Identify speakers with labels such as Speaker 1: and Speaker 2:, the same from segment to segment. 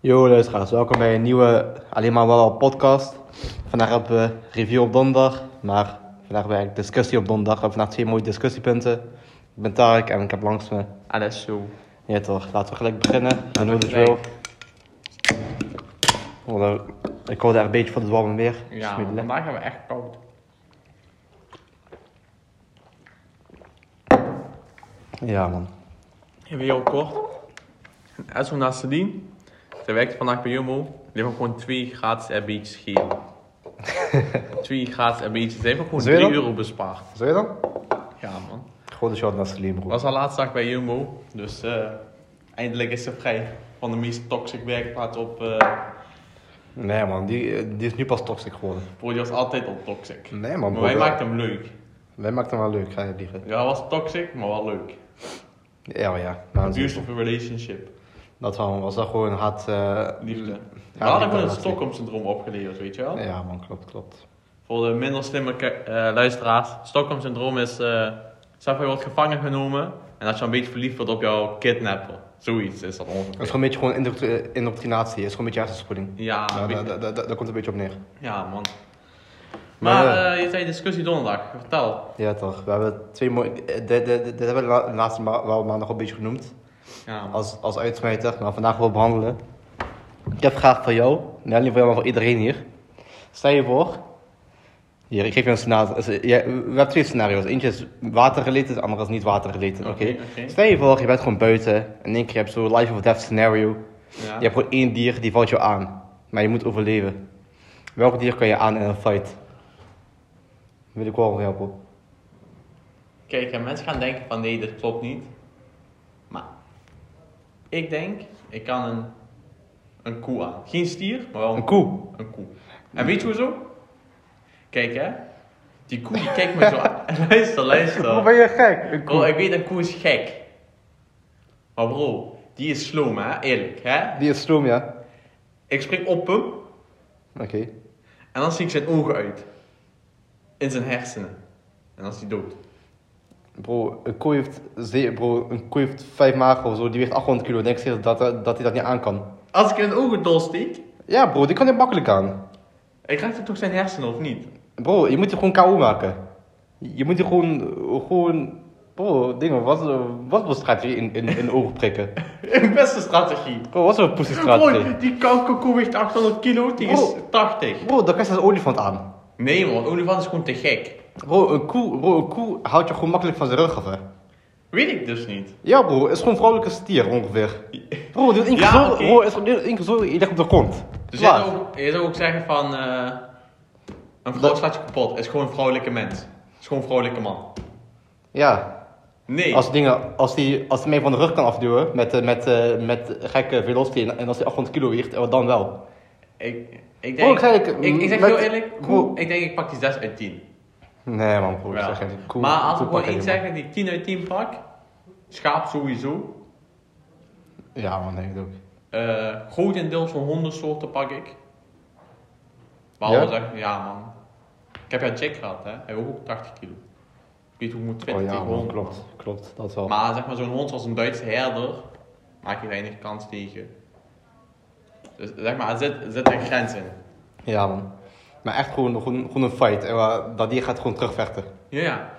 Speaker 1: Yo luisteraars, welkom bij een nieuwe Alleen maar wel podcast. Vandaag hebben we review op donderdag, maar vandaag hebben we eigenlijk discussie op donderdag. We hebben vandaag twee mooie discussiepunten. Ik ben Tarek en ik heb langs me.
Speaker 2: Alles zo.
Speaker 1: Ja toch, laten we gelijk beginnen. We doen de
Speaker 2: gelijk.
Speaker 1: show. Oh, nou, Ik hou daar een beetje van het warme weer.
Speaker 2: Ja,
Speaker 1: Smiddelen.
Speaker 2: vandaag hebben we echt koud.
Speaker 1: ja man.
Speaker 2: Even heel kort. Esso naast Celine. Zij werkt vandaag bij Jumbo. Die hebben gewoon 2 gratis airbeats gegeven. 2 gratis airbeats. Ze hebben gewoon
Speaker 1: Zou je
Speaker 2: 3
Speaker 1: dat?
Speaker 2: euro bespaard.
Speaker 1: Zou je dan?
Speaker 2: Ja man.
Speaker 1: Grote shot naar Salim
Speaker 2: Het
Speaker 1: broer.
Speaker 2: was haar laatste dag bij Jumbo. Dus eh, eindelijk is ze vrij van de meest toxic werkplaats op. eh
Speaker 1: Nee man, die, die is nu pas toxic geworden.
Speaker 2: Bro, die was altijd op toxic.
Speaker 1: Nee man
Speaker 2: Maar
Speaker 1: broer.
Speaker 2: wij maakten hem leuk.
Speaker 1: Wij maakten hem wel leuk, ga je liegen.
Speaker 2: Ja, hij was toxic, maar wel leuk.
Speaker 1: Ja maar ja. Maar
Speaker 2: Abusive relationship.
Speaker 1: Dat was, was dat gewoon hard. eh,
Speaker 2: Liefde. We
Speaker 1: liefde
Speaker 2: hadden gewoon het
Speaker 1: was liefde.
Speaker 2: Stockholm-syndroom opgeleverd, weet je wel?
Speaker 1: Ja, man, klopt, klopt.
Speaker 2: Voor de minder slimme ke- eh, luisteraars, Stockholm-syndroom is... eh zelf je wordt gevangen genomen en als je een beetje verliefd wordt op jouw kidnapper. Zoiets is dat
Speaker 1: Het is
Speaker 2: ongeveer.
Speaker 1: gewoon een beetje gewoon indoctr- indoctrinatie, het is gewoon een beetje hersenspoeling.
Speaker 2: Ja,
Speaker 1: Ja,
Speaker 2: een
Speaker 1: daar,
Speaker 2: beetje-
Speaker 1: daar, daar, daar komt het een beetje op neer.
Speaker 2: ja man.
Speaker 1: Maar,
Speaker 2: Maar
Speaker 1: eh,
Speaker 2: eh, je zei discussie donderdag, vertel.
Speaker 1: Ja, toch. We hebben twee mooie... eh, Dit, dit, dit dit hebben we la- de laatste ma wel maandag al een beetje genoemd.
Speaker 2: Ja, man.
Speaker 1: Als, als uitsmijter, maar vandaag wil ik behandelen. Ik heb graag voor jou, nou niet voor jou, maar voor iedereen hier. Stel je voor... Hier, ik geef je een scenario. dus, eh, jij- we hebben twee scenario's. Eentje is watergerelateerd, de andere is niet watergerelateerd. Oké.
Speaker 2: Oké, oké.
Speaker 1: Stel je voor, je bent gewoon buiten. En in één keer heb je zo'n life of death scenario.
Speaker 2: ja.
Speaker 1: Je hebt gewoon één dier die valt jou aan, maar je moet overleven. Welk dier kan je aan in een fight? Wil ik wel helpen.
Speaker 2: Kijk, en mensen gaan denken van nee, dit klopt niet. Maar ik denk, ik kan een, een koe aan. Geen stier, maar wel
Speaker 1: Een koe.
Speaker 2: Een koe. En weet je hoezo? Kijk hè. Die koe die kijkt me zo aan. luister, luister.
Speaker 1: je gek? Een
Speaker 2: Bro, ik weet een koe is gek. Maar bro, die is sloom hè, eerlijk hè.
Speaker 1: Die is stroom, ja.
Speaker 2: Ik spring op hem
Speaker 1: Oké.
Speaker 2: en dan zie ik zijn ogen uit. In zijn hersenen. En dan is hij dood.
Speaker 1: Bro, een koe heeft, ze- bro, een koe heeft vijf magen of zo, die weegt 800 kilo. Denk je dat, dat hij dat niet aan kan?
Speaker 2: Als ik in zijn ogen dolsteek,
Speaker 1: Ja, bro, die kan hij makkelijk aan.
Speaker 2: ik raak toch zijn hersenen of niet?
Speaker 1: Bro, je moet die gewoon KO maken. Je moet die gewoon, gewoon, bro, dingen, wat, wat voor strategie in, in, in de ogen prikken?
Speaker 2: Een beste strategie.
Speaker 1: Bro, wat voor poesiestrategie?
Speaker 2: Bro, die kalkoe weegt 800 kilo, die is
Speaker 1: Bro.
Speaker 2: 80.
Speaker 1: Bro, dan kan je als olifant aan.
Speaker 2: Nee man, olifant is gewoon te gek.
Speaker 1: Bro, een koe, bro, een koe houdt je gewoon makkelijk van zijn rug af, hè?
Speaker 2: Weet ik dus niet.
Speaker 1: Ja, bro, het is gewoon een vrouwelijke stier ongeveer. Bro, dit is één keer
Speaker 2: Ja,
Speaker 1: zo,
Speaker 2: oké.
Speaker 1: bro, het is gewoon één keer zo, je ligt op de grond.
Speaker 2: Dus je
Speaker 1: Klaar.
Speaker 2: zou, ook, je zou ook zeggen van... eh, een vrouw slaat je kapot, is gewoon een vrouwelijke mens. Is gewoon een vrouwelijke man.
Speaker 1: Ja,
Speaker 2: Nee.
Speaker 1: als dingen, als die, als die mij van de rug kan afduwen met, eh, met, eh, met gekke velocity en, en als die 800 kilo weegt, eh, dan wel.
Speaker 2: Ik, ik denk...
Speaker 1: Bro, ik zei ik-
Speaker 2: ik, ik zeg
Speaker 1: met-
Speaker 2: heel eerlijk,
Speaker 1: Bro.
Speaker 2: koe, ik denk ik pak die 6 uit 10.
Speaker 1: Nee man, bro, ik
Speaker 2: Ja.
Speaker 1: zeg geen koe.
Speaker 2: maar als
Speaker 1: koe
Speaker 2: ik gewoon
Speaker 1: pakken,
Speaker 2: één
Speaker 1: man.
Speaker 2: zeg dat ik 10 uit 10 pak... Schaap sowieso.
Speaker 1: Ja man, denk ik ook.
Speaker 2: eh grotendeels van hondensoorten pak ik. Behalve ja? ja man. Ik heb ja Jack gehad hè, hij woog ook 80 kilo. Ik weet hoe ik moet 20
Speaker 1: Oh ja
Speaker 2: tegen
Speaker 1: man,
Speaker 2: honden.
Speaker 1: klopt, klopt, dat wel.
Speaker 2: Maar zeg maar zo'n hond zoals een Duitse herder, maak je weinig kans tegen. Dus zeg maar, er zit, er zit een grens in.
Speaker 1: Ja man. Maar echt gewoon, gewoon, gewoon een fight, en, eh, dat dier gaat gewoon terugvechten.
Speaker 2: Ja, ja.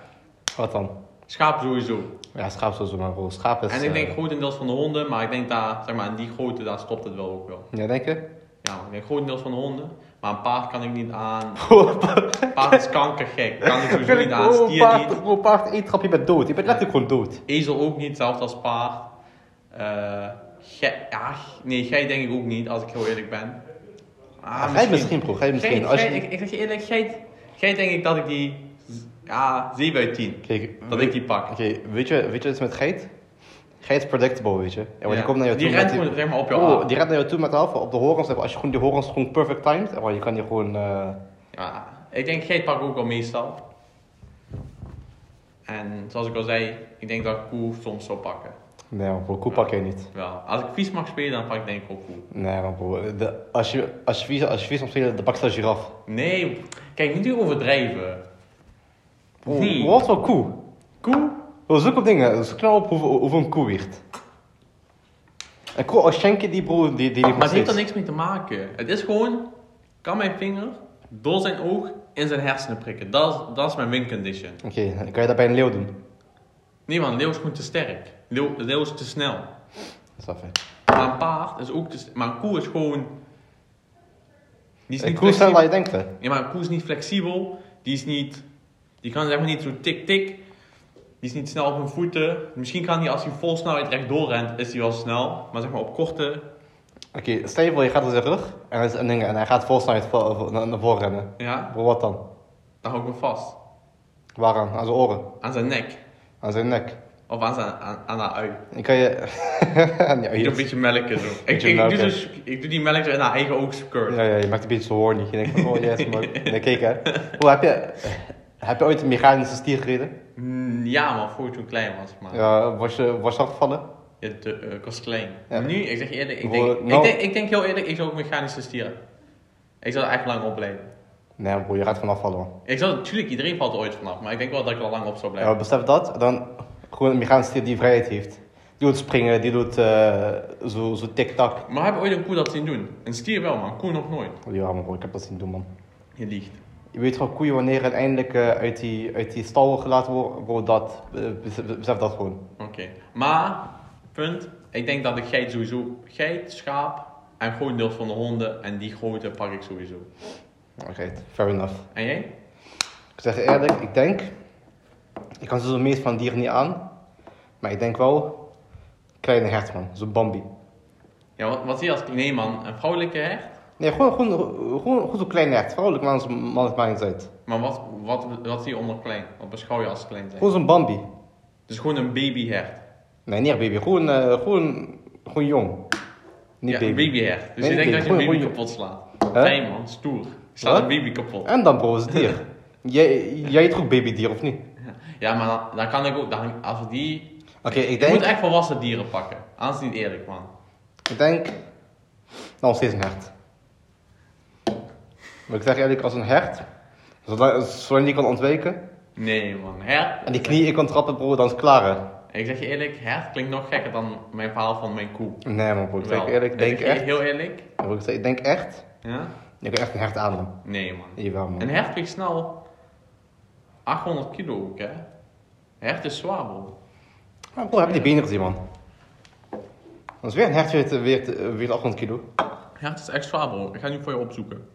Speaker 1: Wat dan?
Speaker 2: Schaap sowieso.
Speaker 1: Ja, schaap sowieso maar bro, schaap is...
Speaker 2: en ik
Speaker 1: eh,
Speaker 2: denk grotendeels van de honden, maar ik denk daar, zeg maar, in die grootte, daar stopt het wel ook wel.
Speaker 1: Ja, denk je?
Speaker 2: Ja, ik denk grotendeels van de honden, maar een paard kan ik niet aan. Paard is kankergek, kan ik sowieso niet aan.
Speaker 1: Oh,
Speaker 2: Stier niet.
Speaker 1: paard, oh, paard, één trap, je bent dood. Je bent letterlijk gewoon dood.
Speaker 2: Ezel ook niet, zelfs als paard. Eh ge- ja, g- nee, gij denk ik ook niet, als ik heel eerlijk ben. Ah,
Speaker 1: Ah, misschien. misschien, bro. Gij misschien.
Speaker 2: Geit,
Speaker 1: Als
Speaker 2: geit,
Speaker 1: je...
Speaker 2: ik, ik zeg je eerlijk, geit, geit denk ik dat ik die... z- Ja, 7 uit 10.
Speaker 1: Kijk,
Speaker 2: Dat
Speaker 1: we-
Speaker 2: ik die pak.
Speaker 1: Oké, weet, je, weet je wat is met geit? Geit is predictable, weet je. Ja, want
Speaker 2: Ja.
Speaker 1: die komt naar jou toe
Speaker 2: Die rent
Speaker 1: met
Speaker 2: gewoon zeg maar, op jou
Speaker 1: Oh,
Speaker 2: af.
Speaker 1: die rent naar jou toe met de halve op de horens. Als je gewoon die horens gewoon perfect timed, oh, je kan die gewoon... eh,
Speaker 2: Ja, ik denk geit pak ik ook al meestal. En zoals ik al zei, ik denk dat ik koe soms zou pakken.
Speaker 1: Nee, man, bro, koe pak je niet.
Speaker 2: Wel, als ik vies mag spelen, dan pak ik denk ik ook koe.
Speaker 1: Nee, man, bro. De, als je als je vies als je vies mag spelen, dan pak je een giraf.
Speaker 2: Nee, kijk, niet overdrijven.
Speaker 1: Bro,
Speaker 2: Nee.
Speaker 1: Wat voor koe?
Speaker 2: Koe?
Speaker 1: Bro, zoek op dingen. Zoek nou op hoeveel, hoeveel een koe weegt. En Ko Oschenke, die broer, die, die
Speaker 2: Maar het heeft er niks mee te maken. Het is gewoon, kan mijn vinger door zijn oog in zijn hersenen prikken. Dat is, dat is mijn win condition.
Speaker 1: Oké, dan kan je dat bij een leeuw doen.
Speaker 2: Nee man, leeuw is gewoon te sterk. Leeuw, leeuw is te snel.
Speaker 1: Dat is wel fijn.
Speaker 2: Maar een paard is ook te s- Maar een koe is gewoon... Die is
Speaker 1: Een
Speaker 2: niet
Speaker 1: koe is sneller
Speaker 2: flexibel.
Speaker 1: dan je denkt, hè?
Speaker 2: Ja, maar een koe is niet flexibel. Die is niet... Die kan zeg maar niet zo tik-tik. Die is niet snel op hun voeten. Misschien kan die als hij vol snelheid rechtdoor rent, is hij wel snel. Maar zeg maar op korte...
Speaker 1: Oké, stel je voor, je gaat op zijn rug en, hij is een ding, en hij gaat vol snelheid vo- vo- naar, naar voren rennen.
Speaker 2: Ja,
Speaker 1: Bro, wat dan?
Speaker 2: dan hou ik me vast.
Speaker 1: Waaraan? Aan zijn oren?
Speaker 2: Aan zijn nek.
Speaker 1: Aan zijn nek?
Speaker 2: Of aan zijn, aan, aan haar ui.
Speaker 1: Ik kan je... ja,
Speaker 2: Ik doe een
Speaker 1: je...
Speaker 2: beetje melken zo. Ik,
Speaker 1: Beetje
Speaker 2: ik, doe,
Speaker 1: melken.
Speaker 2: dus, ik doe die melk zo in haar eigen oogscurve.
Speaker 1: Ja, ja, je maakt een beetje zo horny. Je denkt van, oh yes, man. Nee, kijk hè. Hoe heb je... Heb je ooit een mechanische stier gereden?
Speaker 2: Mm, Ja, maar voor ik toen klein was. Maar
Speaker 1: Ja, was je was je afgevallen?
Speaker 2: ja. te, eh, ik was klein.
Speaker 1: Ja.
Speaker 2: Nu, ik zeg eerlijk, ik
Speaker 1: Voor-
Speaker 2: denk,
Speaker 1: nou-
Speaker 2: ik, denk, ik denk heel eerlijk, ik zou ook mechanische stieren. Ik zou er echt lang op blijven.
Speaker 1: Nee bro, je gaat vanaf vallen man.
Speaker 2: Ik zou, natuurlijk, iedereen valt er ooit vanaf, maar ik denk wel dat ik er lang op zou blijven.
Speaker 1: Ja, Eh, besef dat, dan gewoon een mechanische stier die vrijheid heeft. Die doet springen, die doet eh, zo, zo tik-tak. Oh,
Speaker 2: Maar heb je ooit een koe dat zien doen? Een stier wel, maar een koe nog nooit.
Speaker 1: Ja man bro, ik heb dat zien doen man.
Speaker 2: Je liegt.
Speaker 1: Je weet gewoon koeien wanneer uiteindelijk eh, uit, die, uit die stal gelaten worden, bro, dat, eh, besef, besef dat gewoon.
Speaker 2: Oké. Maar, punt. Ik denk dat de geit sowieso, geit, schaap en gewoon deels van de honden en die grote pak ik sowieso.
Speaker 1: Oké, fair enough.
Speaker 2: En jij?
Speaker 1: Ik zeg je eerlijk, ik denk, ik kan zo de meest van dieren niet aan, maar ik denk wel, kleine hert man, zo'n Bambi.
Speaker 2: Ja, wat, wat zie je als nee man, een vrouwelijke hert?
Speaker 1: Nee, gewoon, gewoon, gewoon, gewoon zo'n kleine hert, vrouwelijk man, zo'n man, het maakt niet uit.
Speaker 2: Maar wat, wat, wat zie je onder klein? Wat beschouw je als klein zijn?
Speaker 1: Gewoon zo'n Bambi.
Speaker 2: Dus gewoon een babyhert.
Speaker 1: Nee, niet echt baby, gewoon, eh, gewoon, gewoon jong. Niet
Speaker 2: ja,
Speaker 1: baby.
Speaker 2: een babyhert. Dus
Speaker 1: Nee,
Speaker 2: je denkt
Speaker 1: baby.
Speaker 2: dat je
Speaker 1: Goeie-
Speaker 2: een baby
Speaker 1: goeie-
Speaker 2: kapot slaat.
Speaker 1: Hè?
Speaker 2: Fijn man, stoer. Je slaat
Speaker 1: Wat?
Speaker 2: een baby kapot.
Speaker 1: En dan bro, is het dier. jij, jij eet ook babydier of niet? Oké,
Speaker 2: Ja, maar dan, dan kan ik ook, dan, als we die...
Speaker 1: ik
Speaker 2: Je
Speaker 1: denk,
Speaker 2: moet echt volwassen dieren pakken. Anders is het niet eerlijk man.
Speaker 1: ik denk, nou, nog steeds een hert. Maar ik zeg eerlijk, als een hert, zolang, zolang die kan ontwijken,
Speaker 2: Nee man, hert.
Speaker 1: En die knieën kan trappen, bro, dan is het klaar. hè?
Speaker 2: Ik zeg je eerlijk, hert klinkt nog gekker dan mijn verhaal van mijn koe.
Speaker 1: Nee, man, bro. Ik zeg
Speaker 2: Wel,
Speaker 1: je eerlijk, ik denk
Speaker 2: zeg je
Speaker 1: echt.
Speaker 2: Heel eerlijk?
Speaker 1: bro, ik zeg- Ik denk echt.
Speaker 2: Ja?
Speaker 1: Je kan echt een hert ademen.
Speaker 2: Nee man.
Speaker 1: Jawel, man.
Speaker 2: Een hert weegt snel 800 kilo ook, hè? Hert is zwaar, bro.
Speaker 1: Maar bro, heb je die benen gezien, man? Dat is weer een hert, weer, te- weer, te- weer 800 kilo.
Speaker 2: Hert is echt zwaar, bro. Ik ga nu voor je opzoeken.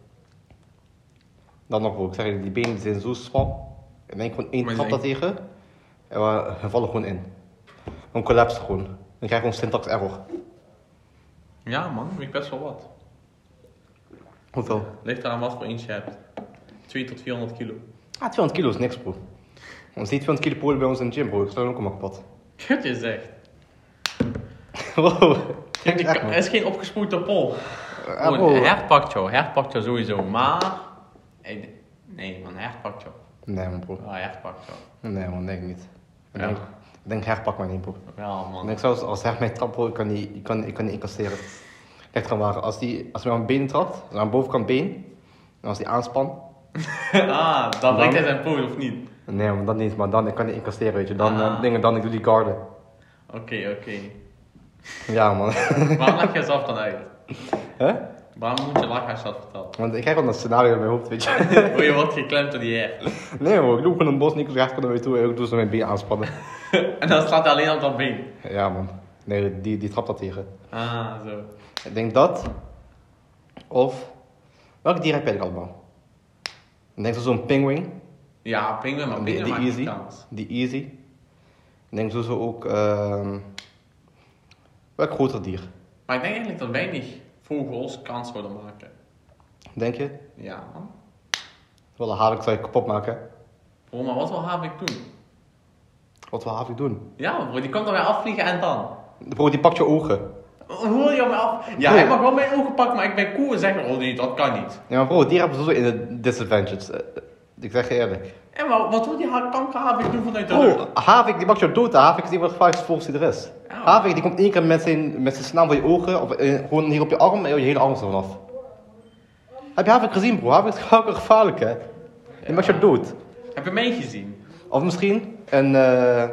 Speaker 1: Dan nog, bro. Ik zeg je, die benen zijn zo smal. Ik denk gewoon één
Speaker 2: Maar
Speaker 1: trap
Speaker 2: die-
Speaker 1: daar tegen. En we we vallen gewoon in. Dan collapse gewoon. Dan krijg je gewoon syntax error.
Speaker 2: Ja, man, weet best wel wat.
Speaker 1: Hoeveel?
Speaker 2: Ligt eraan wat voor eentje je hebt. 2 tot 400 kilo.
Speaker 1: Ah, 200 kilo is niks, bro. Ons niet 200 kilo polen bij ons in de gym, bro. Ik sta ook allemaal kapot.
Speaker 2: Kut is echt.
Speaker 1: Wow. Kijk,
Speaker 2: Die
Speaker 1: echt,
Speaker 2: ka-
Speaker 1: man.
Speaker 2: Er is geen opgespoelde pol.
Speaker 1: Ah,
Speaker 2: Gewoon,
Speaker 1: bro.
Speaker 2: Een hert pakt jou, hert pakt jou sowieso, maar. Ik- Nee, man, hert pakt jou.
Speaker 1: Nee, man, bro.
Speaker 2: Ja, hert pakt jou.
Speaker 1: Nee man, denk ik niet. Ik
Speaker 2: Ja.
Speaker 1: denk, ik denk her pak maar niet bro.
Speaker 2: Wel,
Speaker 1: Ik
Speaker 2: man.
Speaker 1: denk zelfs als her mij trapt bro, ik kan die, ik kan, ik kan die incasseren. Echt gewoon waar, als die, als hij aan mijn been trapt, dus aan mijn bovenkant been, en als die aanspan,
Speaker 2: Ah, dan brengt hij zijn poot of niet?
Speaker 1: nee man, dat niet, maar dan ik kan die incasseren weet je. Dan,
Speaker 2: Ah.
Speaker 1: eh, dingen, dan ik doe die garden.
Speaker 2: Oké, oké.
Speaker 1: Ja man.
Speaker 2: Waarom leg je zelf dan uit?
Speaker 1: Hè?
Speaker 2: Waarom moet je lachen als je dat vertelt?
Speaker 1: Want ik krijg wel een scenario in mijn hoofd weet je.
Speaker 2: Oh, je wordt geklemd door die hert.
Speaker 1: Nee bro, ik doe gewoon een bos, Nico recht kan naar mij toe en ik doe zo mijn been aanspannen.
Speaker 2: En dan staat hij alleen op dat been.
Speaker 1: Ja man. Nee, die, die trapt dat tegen.
Speaker 2: Ah, zo.
Speaker 1: Ik denk dat. Of, welke dieren heb jij eigenlijk allemaal? Ik denk zo zo'n pinguïn.
Speaker 2: Ja, pinguïn,
Speaker 1: Die,
Speaker 2: maar pinguïn
Speaker 1: die
Speaker 2: maakt niet
Speaker 1: easy.
Speaker 2: kans.
Speaker 1: Die easy. Ik denk sowieso ook. ehm welk groter dier?
Speaker 2: Maar ik denk eigenlijk dat weinig vogels kans zouden maken.
Speaker 1: Denk je?
Speaker 2: Ja, man.
Speaker 1: Wel een havik zou je kapot maken.
Speaker 2: Bro, maar wat wil havik doen?
Speaker 1: Wat wil havik doen?
Speaker 2: Ja, bro, die komt er weer afvliegen en dan?
Speaker 1: Bro, die pakt je ogen.
Speaker 2: Hoe je me af? Ja,
Speaker 1: Bro.
Speaker 2: hij mag wel mijn ogen pakken, maar ik ben koe en zeg maar, oh nee, dat kan niet.
Speaker 1: Ja, maar bro, dieren hebben sowieso in de disadvantages. Eh, ik zeg je eerlijk.
Speaker 2: En maar wat wil die ha- kankerhavik doen vanuit de lucht?
Speaker 1: Bro, havik die pakt jou dood. hè. Havik is die wat gevaarlijk volgens die er is.
Speaker 2: Ja.
Speaker 1: Havik die komt één keer met zijn, met zijn snaam voor je ogen. Of eh, gewoon hier op je arm en je hele arm is er vanaf. Heb je havik gezien, bro? Havik is gewoon gevaarlijk, hè? Die maakt jou dood.
Speaker 2: Heb je mij gezien?
Speaker 1: Of misschien een, eh hoe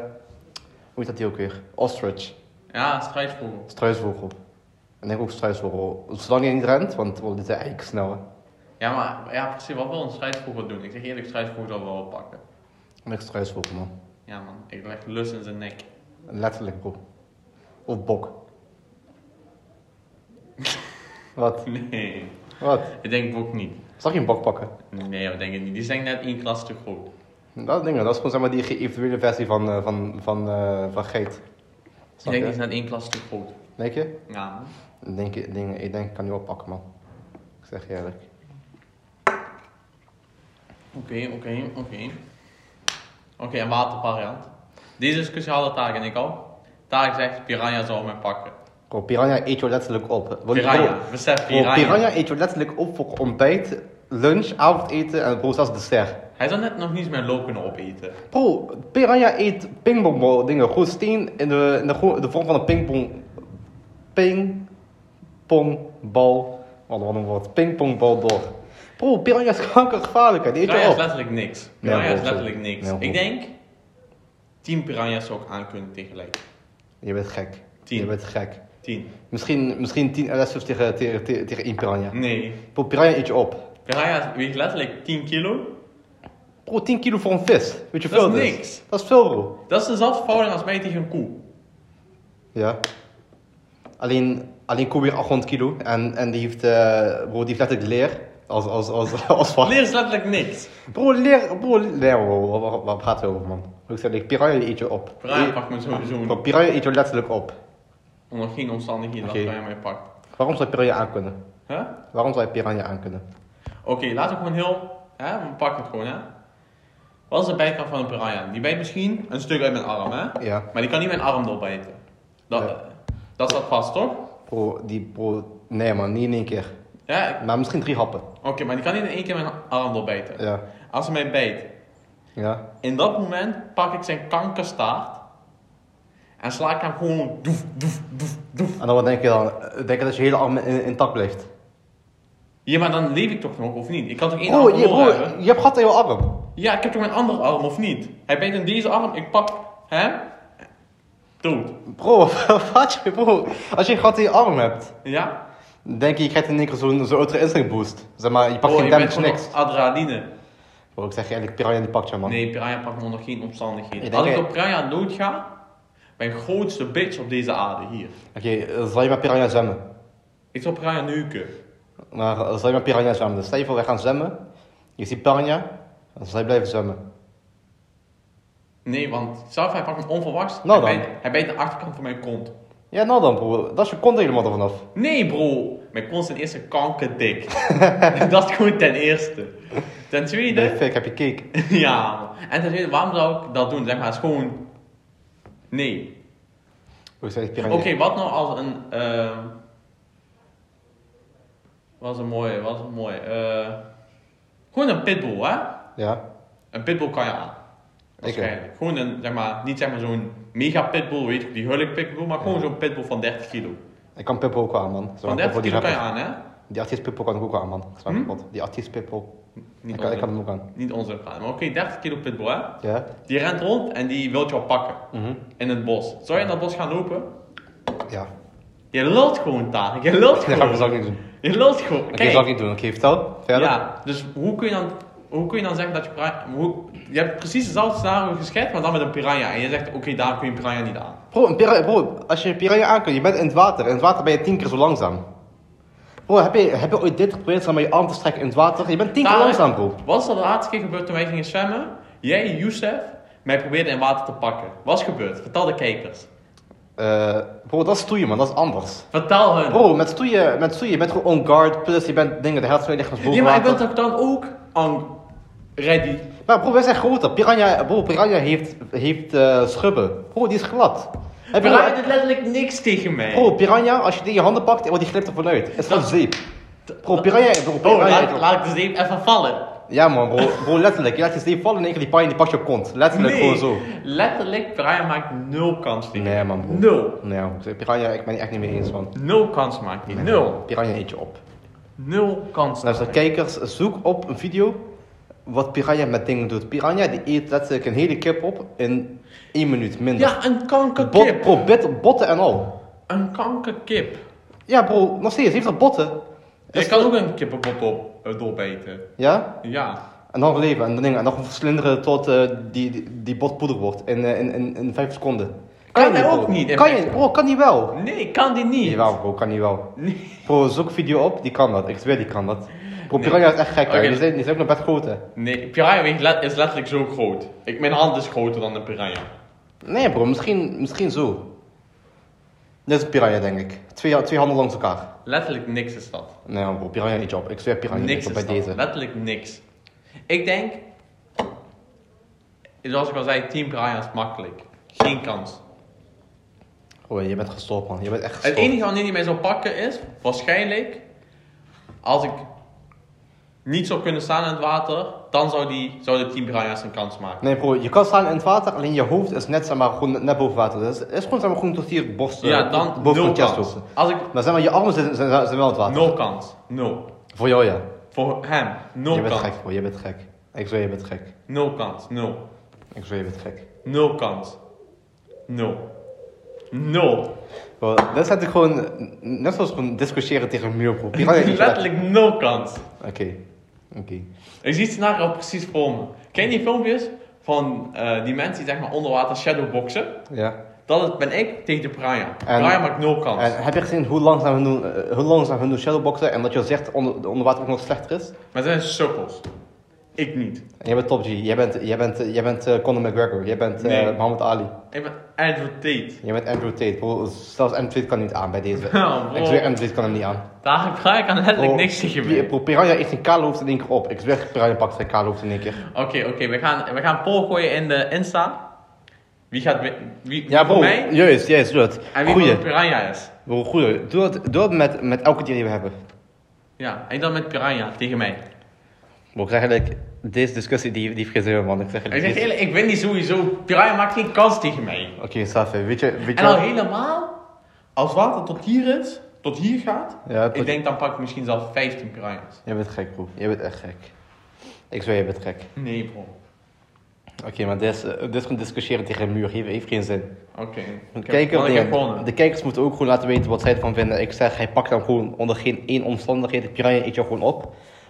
Speaker 1: heet dat die ook weer? Ostrich,
Speaker 2: Ja, struisvogel.
Speaker 1: struisvogel. En ik ook struisvogel. Zolang je niet rent, want oh, dit is eigenlijk sneller.
Speaker 2: Ja, maar ja, precies. Wat wil een struisvogel doen? Ik zeg eerlijk, struisvogel zal wel pakken.
Speaker 1: En ik struisvogel, man.
Speaker 2: Ja man, ik leg lus in zijn nek.
Speaker 1: Letterlijk, bro. Of bok. Wat?
Speaker 2: Nee.
Speaker 1: Wat?
Speaker 2: Ik denk ook niet.
Speaker 1: Zag je een bok pakken?
Speaker 2: Nee, dat denk ik niet. Die zijn net één klas te groot.
Speaker 1: Dat, ding, dat is gewoon zeg maar die geëvalueerde versie van, eh, van, van, eh, van Geet.
Speaker 2: Ik
Speaker 1: Snap
Speaker 2: denk die is
Speaker 1: je?
Speaker 2: net één klas te groot.
Speaker 1: Denk je?
Speaker 2: Ja man.
Speaker 1: Ik denk, ik denk, ik denk ik kan die wel pakken, man. Ik zeg je eerlijk.
Speaker 2: Oké, oké, oké. Oké, een watervariant. Deze is speciaal dat Tarek en ik al. Tarek zegt, piranha zal mij pakken.
Speaker 1: Bro, piranha eet je letterlijk op. Want-
Speaker 2: Piranha, besef
Speaker 1: Bro, Oh, bro,
Speaker 2: piranha.
Speaker 1: piranha eet je letterlijk op voor ontbijt, lunch, avondeten en bro, zelfs dessert.
Speaker 2: Hij zou net nog niet eens mijn loop kunnen opeten.
Speaker 1: Bro, piranha eet pingpong bro, dingen. Gewoon steen in de, in de, gro- de vorm van een pingpong. Pingpongbal. Wat wat een woord. Pingpongbal door. Bro, piranha is kankergevaarlijk. hè, Die eet
Speaker 2: Piranha
Speaker 1: je
Speaker 2: is
Speaker 1: op.
Speaker 2: letterlijk niks. Piranha
Speaker 1: Nee,
Speaker 2: is
Speaker 1: hoor,
Speaker 2: letterlijk
Speaker 1: sorry.
Speaker 2: niks.
Speaker 1: Nee, hoor.
Speaker 2: ik denk, 10 piranha's zou ik aankunnen tegelijk.
Speaker 1: Je bent gek.
Speaker 2: Tien.
Speaker 1: Je bent gek.
Speaker 2: 10.
Speaker 1: Misschien, misschien 10 LSF's tegen, tegen, tegen, tegen één piranha.
Speaker 2: Nee.
Speaker 1: Bro, piranha eet je op.
Speaker 2: Piranha weegt letterlijk 10 kilo.
Speaker 1: Bro, 10 kilo voor een vis. Weet je
Speaker 2: Dat
Speaker 1: veel
Speaker 2: is
Speaker 1: dus?
Speaker 2: niks.
Speaker 1: Dat is veel bro.
Speaker 2: Dat is dezelfde verhouding als mij tegen een koe.
Speaker 1: Ja. Alleen, alleen Kobe heeft 800 kilo en, en die heeft, eh, bro, die heeft letterlijk leer als, als, als, als vak.
Speaker 2: Leer is letterlijk niks.
Speaker 1: Bro, leer, bro, leer, bro, waar, waar, waar praten we over, man? Ik zeg, like, piranha die eet je op.
Speaker 2: Piranha
Speaker 1: Die-
Speaker 2: pakt me sowieso
Speaker 1: bro,
Speaker 2: niet.
Speaker 1: piranha eet je letterlijk op.
Speaker 2: Onder geen omstandigheden
Speaker 1: Oké.
Speaker 2: dat piranha mij pakt.
Speaker 1: Waarom zou je piranha aankunnen?
Speaker 2: Huh?
Speaker 1: Waarom zou je piranha aankunnen?
Speaker 2: Oké, laten we gewoon heel. Hè, we pakken het gewoon, hè? Wat is de bijkant van een piranha? Die bijt misschien een stuk uit mijn arm, hè?
Speaker 1: Ja,
Speaker 2: Maar die kan niet mijn arm doorbijten. Dat,
Speaker 1: Ja.
Speaker 2: dat staat vast, toch?
Speaker 1: bro, die, bro, nee man, niet in één keer.
Speaker 2: Ja, ik-
Speaker 1: Maar misschien drie happen.
Speaker 2: oké, maar die kan niet in één keer mijn arm doorbijten.
Speaker 1: Ja,
Speaker 2: Als hij mij bijt,
Speaker 1: ja.
Speaker 2: in dat moment pak ik zijn kankerstaart en sla ik hem gewoon doef, doef, doef, doef.
Speaker 1: En dan wat denk je dan? Denk je dat je hele arm in- intact blijft?
Speaker 2: Ja, maar dan leef ik toch nog, of niet? Ik kan toch één
Speaker 1: Bro,
Speaker 2: arm
Speaker 1: Oh, je,
Speaker 2: verloren
Speaker 1: bro,
Speaker 2: hebben?
Speaker 1: je hebt gat in je arm.
Speaker 2: Ja, ik heb toch mijn andere arm, of niet? Hij bijt in deze arm, ik pak hem, dood.
Speaker 1: Bro, wat je, bro, als je een gat in je arm hebt.
Speaker 2: Ja?
Speaker 1: Denk je, je krijgt in één keer zo'n zo ultra instinct boost. Zeg maar, je pakt geen
Speaker 2: Oh, je
Speaker 1: damage,
Speaker 2: bent
Speaker 1: niks.
Speaker 2: gewoon Adrenaline.
Speaker 1: Bro, ik zeg je eerlijk, Piranha die pakt je man.
Speaker 2: Nee, Piranha pakt me onder geen omstandigheden.
Speaker 1: Ik denk
Speaker 2: Als ik
Speaker 1: hij-
Speaker 2: op Piranha dood ga, ben ik grootste bitch op deze aarde hier.
Speaker 1: Oké, eh, zal je met Piranha zwemmen?
Speaker 2: Ik zou Piranha neuken.
Speaker 1: Maar eh, zal je met Piranha zwemmen? Dus stel je voor, wij gaan zwemmen. Je ziet Piranha, dan zal je blijven zwemmen.
Speaker 2: Nee, want zelf hij pakt me onverwachts.
Speaker 1: Nou
Speaker 2: hij,
Speaker 1: dan.
Speaker 2: bijt, hij bijt de achterkant van mijn kont.
Speaker 1: Ja, nou dan bro, dat is je kont helemaal ervan af.
Speaker 2: Nee bro, mijn kont is ten eerste kankerdik. dat is gewoon ten eerste. Ten
Speaker 1: Nee,
Speaker 2: tweede,
Speaker 1: fik, heb je cake.
Speaker 2: ja. man. En ten tweede, waarom zou ik dat doen? Zeg maar, het is gewoon... Nee.
Speaker 1: Bro, ik zeg je, Piranha.
Speaker 2: Oké, wat nou als een. ehm was een mooie, was een mooie. eh, gewoon een pitbull, hè?
Speaker 1: Ja,
Speaker 2: Een pitbull kan je aan. Waarschijnlijk. Gewoon een, zeg maar, niet zeg maar zo'n mega pitbull, weet je, die hulk pitbull, maar gewoon zo'n pitbull van 30 kilo.
Speaker 1: ik kan Pippo ook wel aan man. Zeg
Speaker 2: Van
Speaker 1: maar, Pippo,
Speaker 2: 30
Speaker 1: die,
Speaker 2: kilo kan je
Speaker 1: rapper.
Speaker 2: aan, hè?
Speaker 1: die artiest Pippo kan ik ook wel aan man. Snap je
Speaker 2: Hm?
Speaker 1: wat? Die artiest Pippo, ik
Speaker 2: Niet
Speaker 1: kan, ik kan
Speaker 2: onzin,
Speaker 1: hem ook aan.
Speaker 2: niet onzin praten, maar oké, 30 kilo pitbull, hè?
Speaker 1: Ja?
Speaker 2: Die rent rond en die wil jou pakken
Speaker 1: Mhm.
Speaker 2: in het bos. Zou je in dat bos gaan lopen?
Speaker 1: Ja.
Speaker 2: Je lult gewoon, Tarek, je lult
Speaker 1: Dat ga ik
Speaker 2: gewoon.
Speaker 1: ook niet doen.
Speaker 2: Je lult gewoon.
Speaker 1: Dat ga
Speaker 2: Kijk,
Speaker 1: ik ook niet doen. Oké, vertel. Verder?
Speaker 2: Ja, dus hoe kun je dan, hoe kun je dan zeggen dat je piranha... Hoe, je hebt precies hetzelfde scenario geschetst, maar dan met een piranha. En je zegt, oké, daar kun je een piranha niet aan.
Speaker 1: Bro, een piranha, bro, als je een piranha aankunt, je bent in het water. In het water ben je tien keer zo langzaam. Bro, heb je, heb je ooit dit geprobeerd om je arm te strekken in het water? Je bent tien keer
Speaker 2: Tarek,
Speaker 1: langzaam, bro.
Speaker 2: Wat is er de laatste keer gebeurd toen wij gingen zwemmen? Jij, Youssef, mij probeerde in water te pakken. Wat is gebeurd? Vertel de kijkers.
Speaker 1: Eh, bro, dat is stoeien, man. Dat is anders.
Speaker 2: Vertel hun.
Speaker 1: Bro, met stoeien, met stoeien, je bent gewoon on guard. Plus, je bent dingen, de helft van je lichaam is boven
Speaker 2: nee, maar ik
Speaker 1: water.
Speaker 2: ben toch dan ook on ready?
Speaker 1: Maar bro, wij zijn groter. Piranha, bro, piranha heeft, heeft eh, schubben. Bro, die is glad. Heb je-
Speaker 2: Piranha doet letterlijk niks tegen mij. Oh,
Speaker 1: Bro, piranha, als je die in je handen pakt, wordt die glipt er vanuit. Het is gewoon zeep. Bro, piranha, bro,
Speaker 2: Oh,
Speaker 1: piranha.
Speaker 2: laat, laat ik de zeep even vallen.
Speaker 1: Ja man, bro, bro letterlijk. Je laat je zeep vallen en één keer die piranha die pakt je op kont. Letterlijk
Speaker 2: Nee,
Speaker 1: gewoon zo.
Speaker 2: letterlijk, Brian maakt nul kans tegen
Speaker 1: Nee,
Speaker 2: mij.
Speaker 1: man, bro.
Speaker 2: Nul.
Speaker 1: Nee, man. Ik- Nou Piranha, ik ben het echt niet mee eens, man.
Speaker 2: Nul kans maakt hij. Nul.
Speaker 1: Piranha eet je op.
Speaker 2: Nul kans.
Speaker 1: Nou, dus de kijkers, zoek op een video wat Piranha met dingen doet. Piranha die eet letterlijk een hele kip op in één minuut minder.
Speaker 2: ja, een kankerkip.
Speaker 1: Bot, bro, bit- botten en al.
Speaker 2: Een kankerkip.
Speaker 1: Ja, bro, nog steeds. Heeft dat botten? Dus-
Speaker 2: Ik kan ook een kippenbot op, eh, doorbijten.
Speaker 1: Ja?
Speaker 2: Ja.
Speaker 1: En dan leven en dan, dingen, en dan verslinderen tot eh, die, die, die bot poeder wordt in, eh, in, in, in vijf seconden.
Speaker 2: Kan
Speaker 1: je
Speaker 2: hij
Speaker 1: bro?
Speaker 2: ook niet in
Speaker 1: Kan
Speaker 2: vijf
Speaker 1: je? Bro, kan die wel?
Speaker 2: Nee, kan die niet.
Speaker 1: Jawel bro, kan die wel.
Speaker 2: Nee.
Speaker 1: Bro, zoek video op, die kan dat. Ik zweer, die kan dat. Bro,
Speaker 2: Nee.
Speaker 1: piranha is echt gek, hè.
Speaker 2: Oké.
Speaker 1: die, zijn, die zijn ook nog best groot, hè.
Speaker 2: Nee, piranha weet je, let- is letterlijk zo groot. Ik, mijn hand is groter dan een piranha.
Speaker 1: Nee bro, misschien, misschien zo. Dit is een piranha, denk ik. Twee, twee handen langs elkaar.
Speaker 2: Letterlijk niks is dat.
Speaker 1: Nee bro, piranha niet op. Ik zweer, piranha
Speaker 2: niks
Speaker 1: niet op
Speaker 2: is
Speaker 1: bij
Speaker 2: dat.
Speaker 1: deze.
Speaker 2: Letterlijk niks. Ik denk, zoals ik al zei, Team Piranha is makkelijk. Geen kans.
Speaker 1: Oh, je bent gestopt man, je bent echt
Speaker 2: Het
Speaker 1: gestopt.
Speaker 2: enige wanneer die mij zou pakken is, waarschijnlijk, als ik niet zou kunnen staan in het water, dan zou, die, zou de Team Piranha's een kans maken.
Speaker 1: Nee bro, je kan staan in het water, alleen je hoofd is net, zeg maar, gewoon net boven water. Dus het is gewoon, zeg maar, gewoon tot hier borst, eh,
Speaker 2: ja, dan
Speaker 1: boven
Speaker 2: nul
Speaker 1: je chest
Speaker 2: kans.
Speaker 1: hoofd.
Speaker 2: Als ik,
Speaker 1: Maar zeg maar, je armen zijn, zijn, zijn wel het water.
Speaker 2: nul kans. Nul.
Speaker 1: Voor jou ja.
Speaker 2: Voor hem,
Speaker 1: je
Speaker 2: nul
Speaker 1: bent
Speaker 2: kans.
Speaker 1: gek bro, je bent gek. Ik zweer, je bent gek.
Speaker 2: Nul kans. Nul.
Speaker 1: Ik zweer, je bent gek.
Speaker 2: Nul kans. Nul. Nul.
Speaker 1: Bro, dat is natuurlijk gewoon, net zoals gewoon discussiëren tegen een muur bro. Piranha is niet zo lekker.
Speaker 2: Letterlijk nul kans.
Speaker 1: Oké, oké.
Speaker 2: Ik zie het scenario precies voor me. Ken je die filmpjes van eh, die mensen die zeg maar onder water shadowboxen?
Speaker 1: Ja.
Speaker 2: Dat is- ben ik tegen de piranha. Piranha maakt nul kans.
Speaker 1: En Eh, heb je gezien hoe langzaam hun doen, eh, hoe langzaam hun doen shadowboxen en dat je zegt onder, onder water ook nog slechter is?
Speaker 2: Maar zijn sukkels. Ik niet.
Speaker 1: En jij bent Top G, jij bent, jij bent, eh, jij bent eh, Conor McGregor, jij bent eh,
Speaker 2: Nee.
Speaker 1: Muhammad Ali.
Speaker 2: Ik ben Andrew Tate.
Speaker 1: Je bent Andrew Tate, bro. Zelfs Andrew Tate kan niet aan bij deze.
Speaker 2: Oh, bro.
Speaker 1: ik zweer, Andrew Tate kan hem niet aan. Oh,
Speaker 2: Daar piranha kan letterlijk
Speaker 1: Bro,
Speaker 2: niks tegen
Speaker 1: Pi-
Speaker 2: me.
Speaker 1: bro, Piranha eet zijn kale hoofd in één keer op. Ik zweer, Piranha pakt zijn kale hoofd in één keer.
Speaker 2: Oké, oké. we, gaan, we gaan een poll gooien in de Insta. Wie gaat win- wie, wie
Speaker 1: Ja,
Speaker 2: voor
Speaker 1: bro.
Speaker 2: mij
Speaker 1: Juist, juist, doe het.
Speaker 2: en wie
Speaker 1: Goeie.
Speaker 2: voor de piranha is.
Speaker 1: Bro, goeie. Doe het, doe het met, met elke dier die we hebben.
Speaker 2: Ja, en dan met piranha tegen mij.
Speaker 1: Bro, ik zeg eigenlijk, deze discussie die, die vergeten we, man. Ik zeg
Speaker 2: Ik
Speaker 1: eigenlijk...
Speaker 2: zeg
Speaker 1: deze-
Speaker 2: eerlijk, ik win die sowieso. Piranha maakt geen kans tegen mij.
Speaker 1: Oké, Safi, weet je... Weet
Speaker 2: En
Speaker 1: je
Speaker 2: al
Speaker 1: wat-
Speaker 2: helemaal, als water tot hier is, tot hier gaat,
Speaker 1: Ja, tot-
Speaker 2: ik denk dan pak ik misschien zelfs 15 piranha's.
Speaker 1: Jij bent gek, bro. Jij bent echt gek. Ik zweer, je bent gek.
Speaker 2: Nee bro.
Speaker 1: Oké, maar dit is, eh, dit is gewoon discussiëren tegen een muur. Heeft, heeft geen zin.
Speaker 2: Oké.
Speaker 1: De,
Speaker 2: Ik heb-
Speaker 1: kijker-
Speaker 2: want ik heb
Speaker 1: de-
Speaker 2: gewonnen.
Speaker 1: de kijkers moeten ook gewoon laten weten wat zij ervan vinden. Ik zeg, hij pakt hem gewoon onder geen één omstandigheid. Piranha eet jou gewoon op.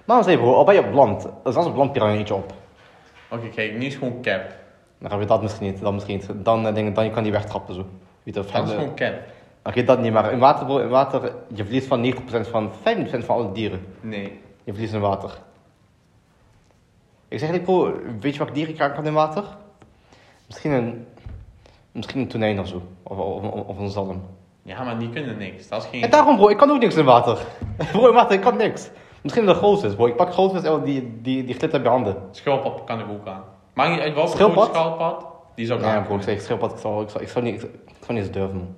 Speaker 1: Maar dan zei bro, al ben je op land. Zelfs op land piranha eet je op.
Speaker 2: Oké, kijk, nu is gewoon cap.
Speaker 1: Dan gaan we dat misschien niet, dat misschien niet. Dan, eh, dingen, dan kan die wegtrappen zo. Weet je, of
Speaker 2: Dat is
Speaker 1: hij-
Speaker 2: gewoon cap.
Speaker 1: Oké, dat niet, maar in water, bro, in water, je verliest van 90% van 50% van alle dieren.
Speaker 2: Nee.
Speaker 1: Je verliest in water. Ik zeg eigenlijk, bro, weet je wat dieren ik aan kan in water? Misschien een, misschien een tonijn of zo. Of, of, of- of een zalm.
Speaker 2: Ja, maar die kunnen niks. Dat is geen...
Speaker 1: En daarom, bro, ik kan ook niks in water. Bro, in water, ik kan niks. Misschien dat grootvis, bro. Ik pak grootvis en die, die, die glittert bij handen.
Speaker 2: Schildpad kan ik ook aan. Maakt niet uit welke
Speaker 1: Schildpad?
Speaker 2: grote schildpad, die zou ik
Speaker 1: Ja,
Speaker 2: aan
Speaker 1: bro, ik
Speaker 2: kunnen.
Speaker 1: zeg, schildpad, ik zou, ik zou, ik zou niet, ik zou niet eens durven, man.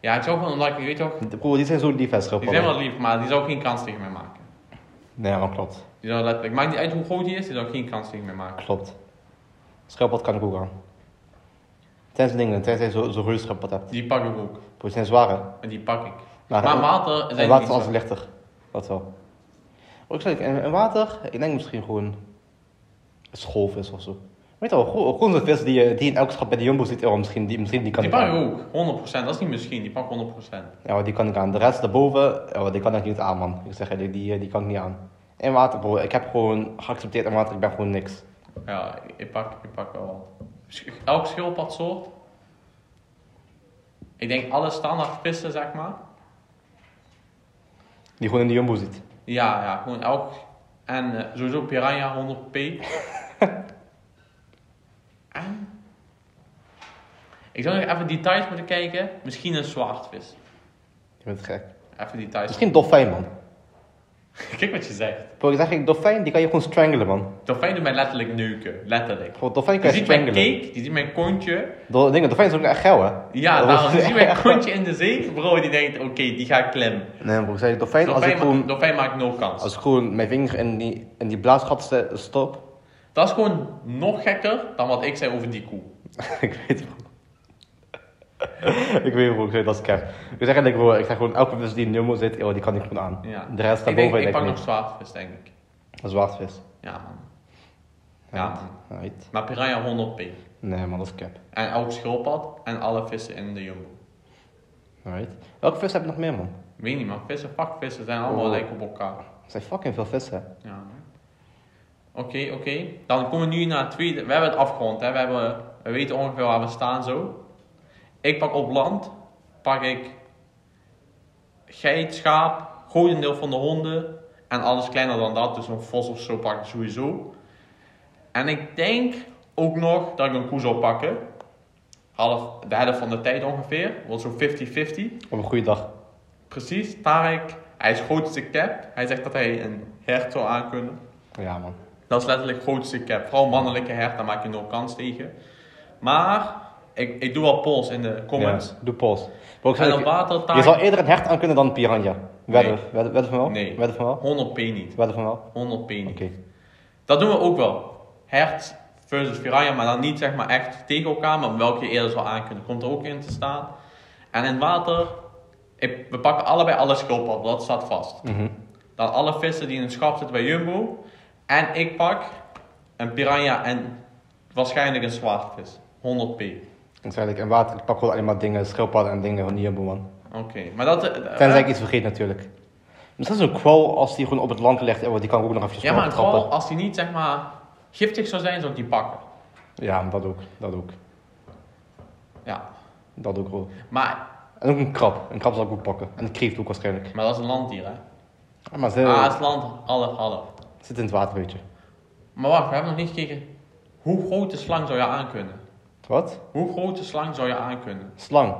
Speaker 2: Ja, ik zou gewoon, omdat ik, je weet toch,
Speaker 1: Bro, die zijn zo lief, hè,
Speaker 2: die zijn
Speaker 1: schildpadden.
Speaker 2: wel lief, maar die zou geen kans tegen mij maken.
Speaker 1: Nee, maar klopt.
Speaker 2: Die zou letterlijk, maakt niet uit hoe groot die is, die zou geen kans tegen mij maken.
Speaker 1: Klopt. Schildpad kan ik ook aan. Tenzij dingen, tenzij je zo- zo'n reuze schildpad hebt.
Speaker 2: Die pak ik ook.
Speaker 1: Bro, die zijn zware.
Speaker 2: En die pak ik.
Speaker 1: Maar-
Speaker 2: Maar, water
Speaker 1: Nou, En
Speaker 2: zijn
Speaker 1: water
Speaker 2: niet
Speaker 1: is altijd
Speaker 2: zo.
Speaker 1: lichter. Dat wel. Ook zeg ik, en, en water, ik denk misschien gewoon schoolvis of zo. Weet je wel, gro- gewoon zo'n vis die, je- die in elke schap bij de Jumbo zit, oh, misschien die, misschien die kan
Speaker 2: Die
Speaker 1: ik
Speaker 2: pak ik
Speaker 1: aan.
Speaker 2: ook, 100%. Dat is niet misschien, die pak ik 100%.
Speaker 1: Ja, maar die kan ik aan. De rest daarboven, ja, maar die kan ik niet aan, man. Ik zeg eerlijk, die, eh, die kan ik niet aan. En water, bro, ik heb gewoon geaccepteerd en water, ik ben gewoon niks.
Speaker 2: Ja, ik- ik pak, ik pak wel wat. Sch- Elk schildpadsoort. Ik denk alle standaard vissen, zeg maar.
Speaker 1: Die gewoon in de Jumbo zit.
Speaker 2: Ja, ja, gewoon elk. En eh, sowieso piranha 100p. en... Ik zou nog even details moeten kijken. Misschien een zwaardvis.
Speaker 1: Je bent gek.
Speaker 2: Even details.
Speaker 1: Misschien dolfijn, man.
Speaker 2: Kijk wat je zegt.
Speaker 1: Bro, ik zeg eigenlijk, dolfijn, die kan je gewoon strangelen, man.
Speaker 2: Dolfijn doet mij letterlijk neuken. Letterlijk.
Speaker 1: Gewoon, dolfijn
Speaker 2: Die
Speaker 1: kan je
Speaker 2: ziet mijn
Speaker 1: strangelen.
Speaker 2: cake, die ziet mijn kontje.
Speaker 1: Do dingen, dolfijn is ook echt geil, hè?
Speaker 2: Ja,
Speaker 1: Dat
Speaker 2: daarom. Die
Speaker 1: is-
Speaker 2: ziet mijn kontje in de zee. Bro, die denkt, oké, die ga ik klem.
Speaker 1: Nee, bro, ik zeg dolfijn, als ik
Speaker 2: Dolfijn, ma-
Speaker 1: gewoon...
Speaker 2: dolfijn maakt nul kans.
Speaker 1: Als ik gewoon mijn vinger in die, in die blaasgat ste- stop.
Speaker 2: Dat is gewoon nog gekker dan wat ik zei over die koe.
Speaker 1: ik weet het wel. ik weet het ik zeg dat is cap. Ik zeg eigenlijk gewoon, ik zeg gewoon elke vis die in Jumbo zit, joh, die kan ik gewoon aan.
Speaker 2: Ja.
Speaker 1: De rest
Speaker 2: ik denk,
Speaker 1: daarboven
Speaker 2: ik
Speaker 1: denk ik
Speaker 2: pak nog
Speaker 1: niet.
Speaker 2: zwaardvis, denk ik.
Speaker 1: Een zwaardvis.
Speaker 2: Ja, man. Ja, man.
Speaker 1: Right.
Speaker 2: Maar piranha 100p.
Speaker 1: Nee man, dat is cap.
Speaker 2: En elk schildpad en alle vissen in de jumbo.
Speaker 1: Right. Welke vis heb je nog meer man?
Speaker 2: Weet niet, maar vissen, vakvissen zijn allemaal
Speaker 1: Oh.
Speaker 2: lijken op elkaar.
Speaker 1: Er zijn fucking veel vissen.
Speaker 2: Ja. Oké, oké. Dan komen we nu naar het tweede. We hebben het afgerond, hè. We, hebben, we weten ongeveer waar we staan zo. Ik pak op land, pak ik geit, schaap, grotendeel van de honden. En alles kleiner dan dat, dus een vos of zo pak ik sowieso. En ik denk ook nog dat ik een koe zou pakken. Half, de helft van de tijd ongeveer, wordt zo 50-50.
Speaker 1: Op een goede dag.
Speaker 2: Precies, Tarek, hij is grootste cap. Hij zegt dat hij een hert zou aankunnen.
Speaker 1: Ja, man.
Speaker 2: Dat is letterlijk grootste cap. Vooral mannelijke hert, daar maak je nul kans tegen. Maar, ik, ik doe wel polls in de comments.
Speaker 1: Ja, doe pols. Maar ook
Speaker 2: En
Speaker 1: zo-
Speaker 2: op water,
Speaker 1: je zal
Speaker 2: Tarek...
Speaker 1: eerder een hert aan kunnen dan een piranha. Wedden.
Speaker 2: Nee.
Speaker 1: Wedden, wedden van wel?
Speaker 2: Nee.
Speaker 1: Wedden van wel?
Speaker 2: 100p niet.
Speaker 1: Wedden van wel? Oké.
Speaker 2: 100p niet. Dat doen we ook wel. Hert versus piranha, maar dan niet zeg maar echt tegen elkaar, maar welke je eerder zou aankunnen. Komt er ook in te staan. En in water, ik- we pakken allebei alle schildpadden, dat staat vast.
Speaker 1: Mhm.
Speaker 2: dan alle vissen die in een schap zitten bij Jumbo. En ik pak een piranha en waarschijnlijk een zwaardvis. 100p.
Speaker 1: Dan zeg ik, in water, ik pak gewoon alleen maar dingen, schildpadden en dingen van die Jumbo, man.
Speaker 2: Oké, maar dat... eh,
Speaker 1: Tenzij
Speaker 2: eh,
Speaker 1: ik iets vergeet natuurlijk. Misschien zo'n kwal als die gewoon op het land ligt, eh, die kan ik ook nog even
Speaker 2: Ja, maar een
Speaker 1: trappen.
Speaker 2: kwal, als die niet zeg maar giftig zou zijn, zou ik die pakken.
Speaker 1: Ja, dat ook. Dat ook.
Speaker 2: Ja,
Speaker 1: Dat ook wel.
Speaker 2: maar,
Speaker 1: En ook een krab. Een krab zal ik ook pakken. En een kreeft ook waarschijnlijk.
Speaker 2: maar dat is een landdier hè.
Speaker 1: Ja, maar ze
Speaker 2: Ah, het is land half half.
Speaker 1: zit in het water, weet je.
Speaker 2: Maar wacht, we hebben nog niet gekeken. Hoe grote slang zou je aankunnen?
Speaker 1: Wat?
Speaker 2: Hoe grote slang zou je aankunnen?
Speaker 1: Slang.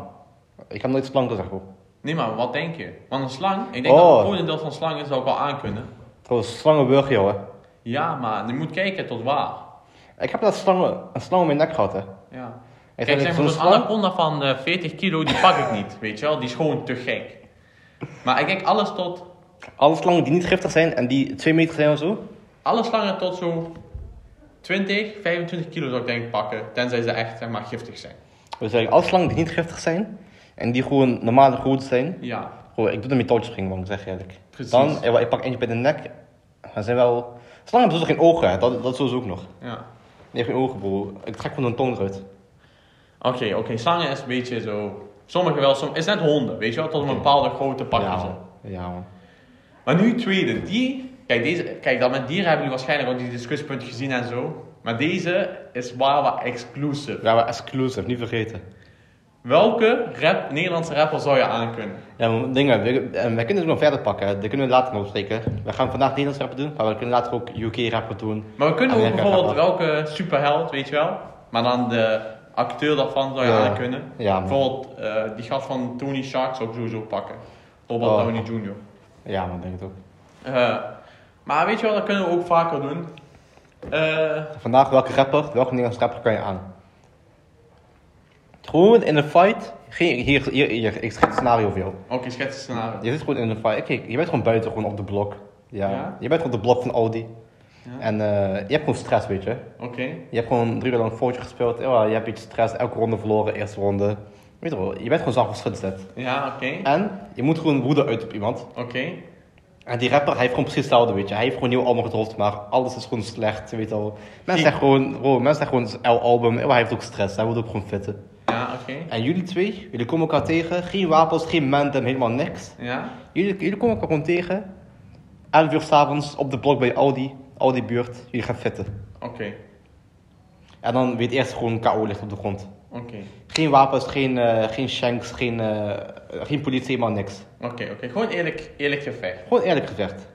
Speaker 1: Ik heb nooit slang gezegd, hoor.
Speaker 2: Nee, maar wat denk je? Want een slang, ik denk
Speaker 1: Oh.
Speaker 2: dat een grootendeel van slangen zou ik wel aankunnen.
Speaker 1: Trouwens, slangenburg, joh. hè.
Speaker 2: Ja, maar je moet kijken tot waar.
Speaker 1: Ik heb dat slangen, een slang om mijn nek gehad, hè.
Speaker 2: Ja.
Speaker 1: Ik zei,
Speaker 2: Kijk, zeg
Speaker 1: zo'n
Speaker 2: maar, zo'n
Speaker 1: slang-
Speaker 2: anaconda van eh, 40 kilo, die pak ik niet, weet je wel. Die is gewoon te gek. Maar ik kijk alles tot,
Speaker 1: Alle slangen die niet giftig zijn en die 2 meter zijn of zo.
Speaker 2: alle slangen tot zo 20, 25 kilo zou ik denk ik pakken. Tenzij ze echt, zeg maar, giftig zijn.
Speaker 1: Dus eigenlijk, alle slangen die niet giftig zijn en die gewoon normale grootte zijn.
Speaker 2: Ja,
Speaker 1: Goh, ik doe een metaaltjesring, man, ik zeg je eerlijk.
Speaker 2: Precies.
Speaker 1: Dan, eh, wel, ik pak eentje bij de nek. Er zijn wel... Slangen hebben sowieso geen ogen, hè. Dat, dat sowieso ook nog.
Speaker 2: ja.
Speaker 1: Nee, geen ogen, bro. Ik trek gewoon een tong eruit.
Speaker 2: Oké, oké, slangen is een beetje zo... Sommige wel, sommige... is net honden, weet je wel. Tot een bepaalde grote pakken
Speaker 1: ja,
Speaker 2: ze.
Speaker 1: man. Ja, man.
Speaker 2: Maar nu tweede, die... Kijk, deze, kijk, dat met dieren hebben jullie waarschijnlijk ook die discussiepunten gezien en zo. Maar deze is Wawa exclusive.
Speaker 1: Ja, maar exclusive, niet vergeten.
Speaker 2: Welke rap, Nederlandse rapper zou je aankunnen?
Speaker 1: Ja, maar dingen, we, en we kunnen het nog verder pakken. hè. Daar kunnen we later nog spreken. We gaan vandaag Nederlands rappen doen, maar we kunnen later ook UK rappen doen.
Speaker 2: Maar we kunnen ook
Speaker 1: Amerika
Speaker 2: bijvoorbeeld
Speaker 1: gaat
Speaker 2: welke superheld, weet je wel, maar dan de acteur daarvan zou je
Speaker 1: Ja.
Speaker 2: aankunnen.
Speaker 1: Ja, man.
Speaker 2: Bijvoorbeeld eh, die gast van Tony Shark zou ik sowieso pakken. Robert
Speaker 1: Oh.
Speaker 2: Downey Jr.
Speaker 1: Ja, man, denk ik ook.
Speaker 2: Eh, maar weet je wel, dat kunnen we ook vaker doen. Eh,
Speaker 1: Vandaag welke rapper, welke Nederlands rapper kan je aan? Gewoon in een fight. Geen, hier, hier, hier, ik schets het scenario voor jou.
Speaker 2: Oké, schets het scenario.
Speaker 1: Je zit gewoon in een fight. Kijk, je bent gewoon buiten, gewoon op de blok. Ja.
Speaker 2: Ja?
Speaker 1: Je bent gewoon op de blok van Audi.
Speaker 2: Ja.
Speaker 1: En eh, je hebt gewoon stress, weet je.
Speaker 2: Oké,
Speaker 1: Je hebt gewoon drie uur lang voortje gespeeld. Ja, je hebt iets stress, elke ronde verloren, eerste ronde. Weet je wel, je bent gewoon zacht geschud gezet.
Speaker 2: ja, oké,
Speaker 1: En je moet gewoon woede uit op iemand.
Speaker 2: oké.
Speaker 1: En die rapper, hij heeft gewoon precies hetzelfde, weet je. Hij heeft gewoon nieuw album gedropt, maar alles is gewoon slecht, weet je wel. Mensen zijn gewoon, wow, mensen zijn gewoon zijn album, maar hij heeft ook stress, hij wordt ook gewoon fitten.
Speaker 2: Ja, oké.
Speaker 1: En jullie twee, jullie komen elkaar tegen, geen wapens, geen menten, helemaal niks.
Speaker 2: Ja,
Speaker 1: Jullie, jullie komen elkaar gewoon tegen, 11 uur s'avonds op de blok bij Audi, Audi buurt, jullie gaan fitten.
Speaker 2: oké,
Speaker 1: En dan weet eerst gewoon KO ligt op de grond.
Speaker 2: oké.
Speaker 1: Geen wapens, geen, eh, geen shanks, geen, eh, geen politie, helemaal niks.
Speaker 2: Oké, oké, gewoon eerlijk, eerlijk gevecht.
Speaker 1: Gewoon eerlijk gezegd.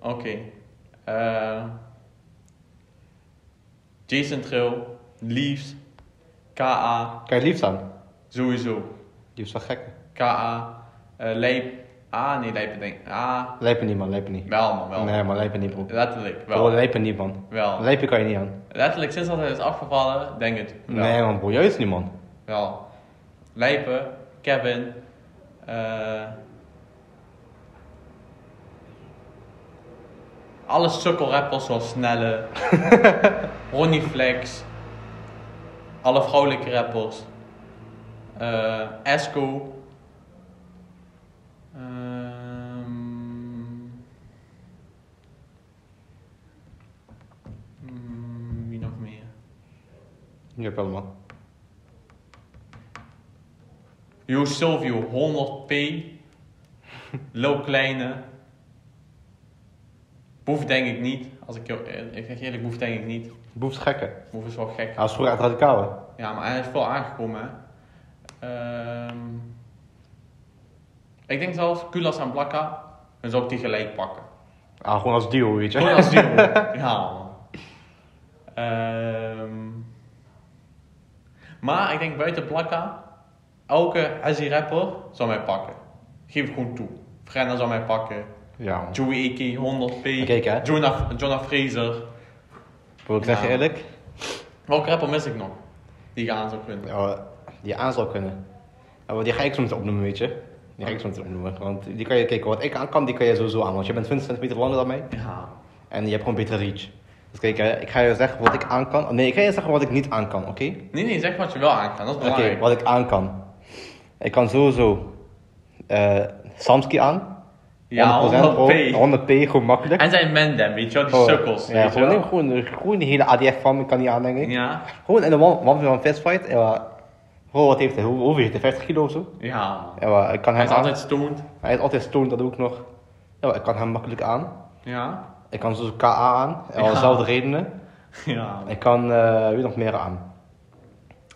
Speaker 2: Oké. Eh, Jason Trill, Leaves, KA,
Speaker 1: Kijk, lief aan.
Speaker 2: sowieso.
Speaker 1: Die is wel gek.
Speaker 2: KA, eh Lijp. Ah, nee, Lijpen denk ik. Ah,
Speaker 1: Lijpen niet, man, lijpen niet.
Speaker 2: wel man, wel.
Speaker 1: Nee, maar lijpen niet, bro.
Speaker 2: Letterlijk,
Speaker 1: Bro,
Speaker 2: wel.
Speaker 1: lijpen niet, man.
Speaker 2: wel.
Speaker 1: Lijpen kan je niet aan.
Speaker 2: Letterlijk, sinds dat hij is afgevallen, denk ik het. Wel.
Speaker 1: Nee, man, bro, juist niet, man.
Speaker 2: Wel. Lijpen, Kevin, eh alle sukkelrappers zoals Snelle, Ronnie Flex, alle vrouwelijke rappers, eh Esco, Ehm. Mm, wie nog meer?
Speaker 1: Je hebt wel, man.
Speaker 2: Yo Silvio, 100p. Loop Kleine. Boef denk ik niet. Als ik, heel eer- ik zeg eerlijk, Boef denk ik niet.
Speaker 1: Boef is gekke.
Speaker 2: Boef is wel gek.
Speaker 1: Hij was vroeger echt radicaal, hè?
Speaker 2: Ja, maar hij is veel aangekomen, hè. Ehm, ik denk zelfs Kulas en Blakka, dan zou ik die gelijk pakken.
Speaker 1: Ah, gewoon als duo, weet je.
Speaker 2: Gewoon Oh als duo. ja, man. Ehm, maar ik denk buiten Blakka, elke Azzy rapper zou mij pakken. Geef het gewoon toe. Frenna zou mij pakken.
Speaker 1: Ja, man.
Speaker 2: Joey AK, 100p.
Speaker 1: Kijk, hè.
Speaker 2: Jonah, Jonah Fraser.
Speaker 1: Bro, ik zeg je
Speaker 2: Ja.
Speaker 1: eerlijk,
Speaker 2: Welke rapper mis ik nog? Die ik aan zou kunnen.
Speaker 1: ja, die aan zou kunnen. Ja, maar die ga ik zo meteen opnoemen, weet je. Die ga ik zo meteen opnoemen. Want die kan je kijken, wat ik aan kan, die kan je sowieso aan. Want je bent 20 centimeter langer dan mij
Speaker 2: Ja.
Speaker 1: en je hebt gewoon betere reach. Dus kijk, hè, ik ga je zeggen wat ik aan kan. Nee, ik ga je zeggen wat ik niet aan kan, oké?
Speaker 2: Nee, nee, zeg wat je wel aan kan. Dat is
Speaker 1: Oké,
Speaker 2: belangrijk.
Speaker 1: wat ik aan kan. Ik kan sowieso eh, Samsky aan.
Speaker 2: Ja,
Speaker 1: 100% bro.
Speaker 2: 100p.
Speaker 1: 100p, gewoon makkelijk.
Speaker 2: En zijn Mendem, weet je wel, die
Speaker 1: Gewoon-
Speaker 2: sukkels.
Speaker 1: Oh, Ja,
Speaker 2: weet je
Speaker 1: gewoon,
Speaker 2: wel.
Speaker 1: nee, gewoon, eh, gewoon die hele ADF van me kan niet aan, denk ik.
Speaker 2: Ja,
Speaker 1: Gewoon in de one-on-one fistfight. Ja, maar- bro, wat heeft hij? Hoe, hoeveel heeft hij? 50 kilo of zo?
Speaker 2: ja. man.
Speaker 1: Ja, maar ik kan
Speaker 2: Hij
Speaker 1: hem
Speaker 2: is
Speaker 1: aan-
Speaker 2: altijd stoned.
Speaker 1: Hij is altijd stoned, dat ook nog. Ja, maar ik kan hem makkelijk aan.
Speaker 2: Ja.
Speaker 1: Ik kan zo KA aan. Ja,
Speaker 2: Ja.
Speaker 1: dezelfde redenen.
Speaker 2: Ja.
Speaker 1: Ik kan, eh wie nog meer aan?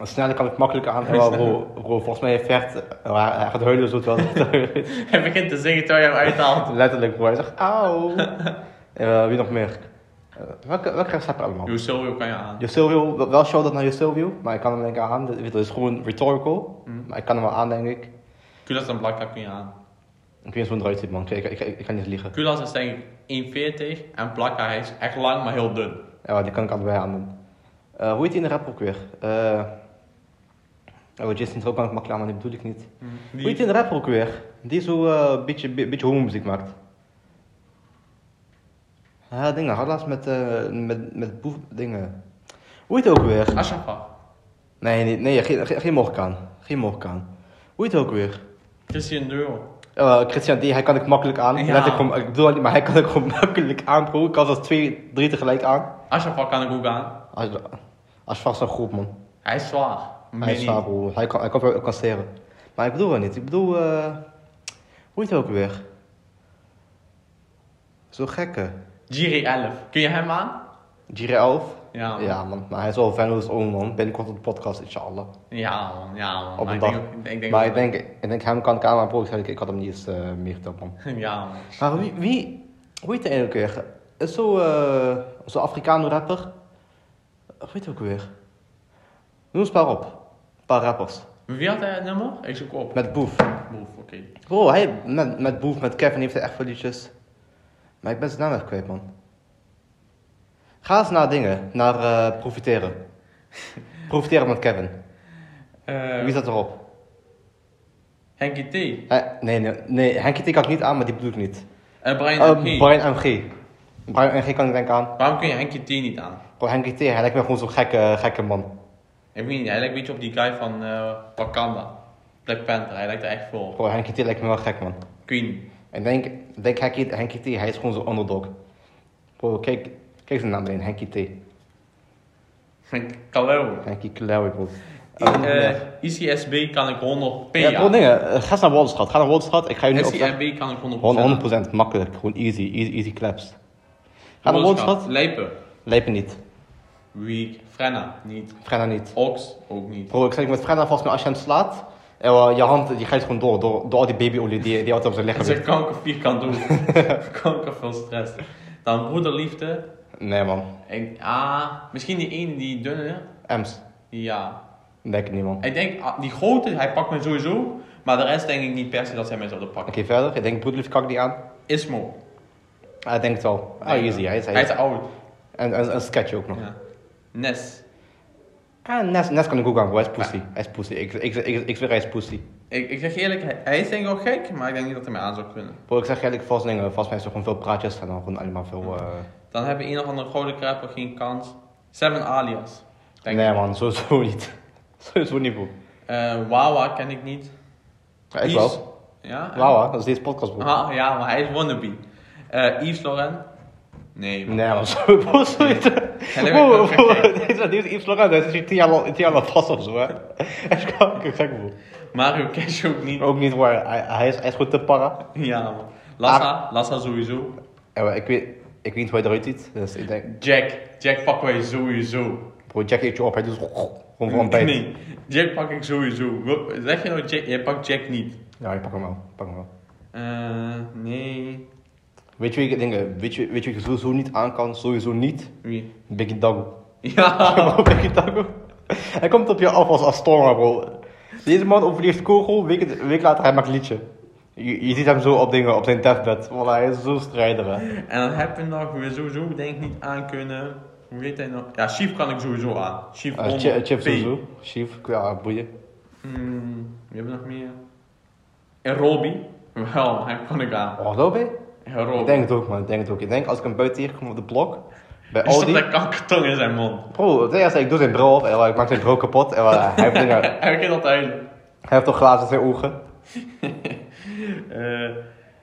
Speaker 1: Een snelle kan ik makkelijk aan. Ja, maar bro, bro, volgens mij heeft Vert, ja, hij gaat huilen zo terwijl
Speaker 2: Hij begint te zingen terwijl je hem uithaalt.
Speaker 1: Letterlijk, bro. Hij zegt, auw. Eh, wie nog meer? Eh, welke, welke rest heb je allemaal?
Speaker 2: Yo, Silvio kan je aan.
Speaker 1: Josilvio, wel- wel shout-out naar Josilvio, maar ik kan hem denk ik aan. Dit- Dat is gewoon rhetorical,
Speaker 2: Mm.
Speaker 1: maar ik kan hem wel aan, denk ik.
Speaker 2: Kulas en Blakka kun je aan.
Speaker 1: Ik weet niet hoe het eruit ziet, man. Ik, ik, ik, ik kan niet liegen.
Speaker 2: Kulas is denk ik 1,40 en Blakka hij is echt lang, maar heel dun.
Speaker 1: Ja, die kan ik allebei aan doen. Eh, hoe heet die in de rap ook weer? Eh oh, Justin Trouw kan ik makkelijk aan, maar die bedoel ik niet. Hoe heet
Speaker 2: Die,
Speaker 1: die in de rap ook weer? Die zo eh, een beetje, be- beetje homo-muziek maakt. Ja, dingen. Had laatst met, eh, met, met boef... Dingen. Hoe heet die ook weer?
Speaker 2: Ashafa.
Speaker 1: Nee, nee, nee geen, geen, geen Morkaan. Geen Morkaan. Hoe heet die ook weer?
Speaker 2: Christian Deurl.
Speaker 1: Eh, Christian D, hij kan ik makkelijk aan.
Speaker 2: Ja.
Speaker 1: Let ik, hem, ik bedoel alleen maar hij kan ik gewoon makkelijk aan, bro. Ik kan zelfs twee, drie tegelijk aan.
Speaker 2: Ashafa kan ik ook aan.
Speaker 1: Als, als vast een groep, man.
Speaker 2: Hij is zwaar. Meer
Speaker 1: Hij is
Speaker 2: niet.
Speaker 1: zwaar, bro. Hij kan, hij kan wel kasseren. Maar ik bedoel het niet. Ik bedoel, eh hoe heet hij ook weer? Zo gekke.
Speaker 2: Jiri 11. Kun je hem aan?
Speaker 1: Jira 11?
Speaker 2: Ja. man.
Speaker 1: Ja, man. Maar hij is wel fanloos oom, man. Binnenkort op de podcast, inshallah.
Speaker 2: Ja, man. Ja, man.
Speaker 1: Op
Speaker 2: Maar
Speaker 1: een
Speaker 2: Ah,
Speaker 1: dag.
Speaker 2: ik denk, ook- ik denk,
Speaker 1: maar ik
Speaker 2: ook-
Speaker 1: denk, ik denk, hem kan ik aan, maar bro, ik, zeg, ik had hem niet eens eh, meer getild, man.
Speaker 2: Ja, man.
Speaker 1: Maar wie, wie hoe heet hij eigenlijk weer? Is zo, eh zo'n Afrikaan rapper. Hoe heet hij ook weer? Noem eens een paar op. Een paar rappers.
Speaker 2: Wie had hij het nummer? Ik zoek op.
Speaker 1: Met Boef.
Speaker 2: Boef, oké.
Speaker 1: Bro, hij, met, met Boef, met Kevin heeft hij echt veel liedjes. Maar ik ben zijn naam echt kwijt, man. Ga eens naar dingen, naar eh, profiteren. profiteren met Kevin.
Speaker 2: Eh,
Speaker 1: Wie zat erop?
Speaker 2: Henkie T.
Speaker 1: Eh, nee, nee, nee, Henkie T kan ik niet aan, maar die bedoel ik niet.
Speaker 2: En Brian
Speaker 1: Eh,
Speaker 2: MG.
Speaker 1: Brian MG. Brian MG kan ik denk aan.
Speaker 2: Waarom kun je Henkie T niet aan?
Speaker 1: Bro, Henkie T, hij lijkt me gewoon zo'n gekke, gekke man.
Speaker 2: Ik weet niet, hij lijkt een beetje op die guy van eh, Wakanda. Black Panther, hij lijkt er echt voor.
Speaker 1: Bro, Henkie T lijkt me wel gek, man.
Speaker 2: Queen.
Speaker 1: Ik denk, ik denk Henkie, Henkie T, hij is gewoon zo'n underdog. Bro, kijk, kijk zijn naam erin, Henkie T.
Speaker 2: Kaleo.
Speaker 1: Henkie Klauwe, bro. Eh,
Speaker 2: Eh ICSB kan ik 100p
Speaker 1: ja, bro,
Speaker 2: aan.
Speaker 1: dingen. eh, Ga eens naar Wolderstraat, ga naar Wolderstraat. Ik ga je nu opzetten.
Speaker 2: SCMB kan ik 100p
Speaker 1: Gewoon
Speaker 2: aan.
Speaker 1: 100% makkelijk, gewoon easy, easy, easy claps. Ga naar Wolderstraat?
Speaker 2: Lijpen.
Speaker 1: Lijpen niet.
Speaker 2: Weak. Frenna. Niet.
Speaker 1: Frenna niet.
Speaker 2: Ox. Ook niet.
Speaker 1: Bro, ik zeg met Frenna, volgens mij als je hem slaat, eh, je hand die gaat gewoon door, door, door al die babyolie die, die altijd op zijn lichaam
Speaker 2: Dat
Speaker 1: zit.
Speaker 2: is kanker vierkant doen. kanker veel stress. Dan broederliefde.
Speaker 1: Nee man,
Speaker 2: Ik, ah, misschien die ene, die dunne.
Speaker 1: Ems.
Speaker 2: Die, ja.
Speaker 1: Denk ik niet man. Oké,
Speaker 2: Ik denk, ah, die grote, hij pakt me sowieso. Maar de rest denk ik niet per se dat zij mij zouden pakken.
Speaker 1: verder. Ik denk Broedelief kan ik die aan.
Speaker 2: Ismo.
Speaker 1: Hij denkt het wel. Ah,
Speaker 2: Nee,
Speaker 1: easy, hij is,
Speaker 2: Hij is oud.
Speaker 1: En en- en een sketch ook nog.
Speaker 2: Ja. Nes.
Speaker 1: En Nes, Nes kan ik ook aan, hij is pussy. Hij is pussy. Ik, ik, ik, ik zweer, hij is pussy.
Speaker 2: Ik, ik zeg je eerlijk, hij, hij is denk ik wel gek, maar ik denk niet dat hij mij aan zou kunnen.
Speaker 1: Bro, ik zeg eigenlijk vast dingen, volgens mij is er gewoon veel praatjes en dan gewoon alleen maar veel... eh,
Speaker 2: Dan hebben een of andere grote kruiper geen kans. Seven alias. Denk ik.
Speaker 1: Nee man, sowieso niet. sowieso niet bro.
Speaker 2: Eh, Wawa ken ik niet.
Speaker 1: Ja, ik
Speaker 2: Yves-
Speaker 1: wel.
Speaker 2: Ja?
Speaker 1: Wauw, hè? dat is deze podcast bro.
Speaker 2: Ah, ja, maar hij is wannabe. Eh Yves Laurent? Nee. man.
Speaker 1: Nee man, zo bro, zo niet.
Speaker 2: ik
Speaker 1: Bro,
Speaker 2: ook
Speaker 1: bro,
Speaker 2: gek.
Speaker 1: dit is- dit is Yves Laurent, dat is tien jaar lang- tien jaar lang vast of zo hè. Hij is kanker gek bro.
Speaker 2: Mario Cash ook niet.
Speaker 1: Ook niet waar. Hij, hij is echt goed te para.
Speaker 2: Ja, man.
Speaker 1: Ah.
Speaker 2: Lassa, Lassa sowieso.
Speaker 1: Ja, maar ik, weet, ik weet niet hoe hij eruit ziet. Dus ik denk,
Speaker 2: Jack, Jack pakken wij sowieso.
Speaker 1: bro, Jack eet je op. Hij doet gewoon van bij.
Speaker 2: Nee, Jack pak ik sowieso. Wil- Zeg je nou Jack, jij pakt Jack niet.
Speaker 1: Ja, ik pak hem wel. ik Pak hem wel.
Speaker 2: Eh, nee.
Speaker 1: Weet je wie ik denk, weet je, weet je wie ik sowieso niet aan kan? Sowieso niet.
Speaker 2: Wie?
Speaker 1: Biggie Dago.
Speaker 2: Ja.
Speaker 1: Bro, Biggie Dago. Hij komt op je af als Astorma, bro. Deze man overleeft kogel, week, week later hij maakt een liedje. Je, je ziet hem zo op dingen, op zijn deathbed. Voilà, hij is zo strijder, hè.
Speaker 2: En dan heb je nog weer sowieso denk ik niet aan kunnen. Hoe heet hij nog? Ja, Chief kan ik sowieso aan. Chief
Speaker 1: Eh, Chi- eh, Chip sowieso. Chief, ja, boeien.
Speaker 2: Hmm, wie hebben we nog meer? En Robbie. Wel, hij kan ik aan.
Speaker 1: Oh, Lobe?
Speaker 2: En
Speaker 1: Ik
Speaker 2: Robbie.
Speaker 1: denk het ook, man. Ik denk het ook. Ik denk, als ik hem buiten hier kom op de blok, bij
Speaker 2: Er stond
Speaker 1: Aldi...
Speaker 2: een kankertong in zijn mond.
Speaker 1: Bro, het eerste, ik doe zijn bril op en eh, ik maak zijn bril kapot. En eh, hij, heeft dingen, hij
Speaker 2: Hij begint altijd.
Speaker 1: heeft toch glazen in zijn ogen.
Speaker 2: Eh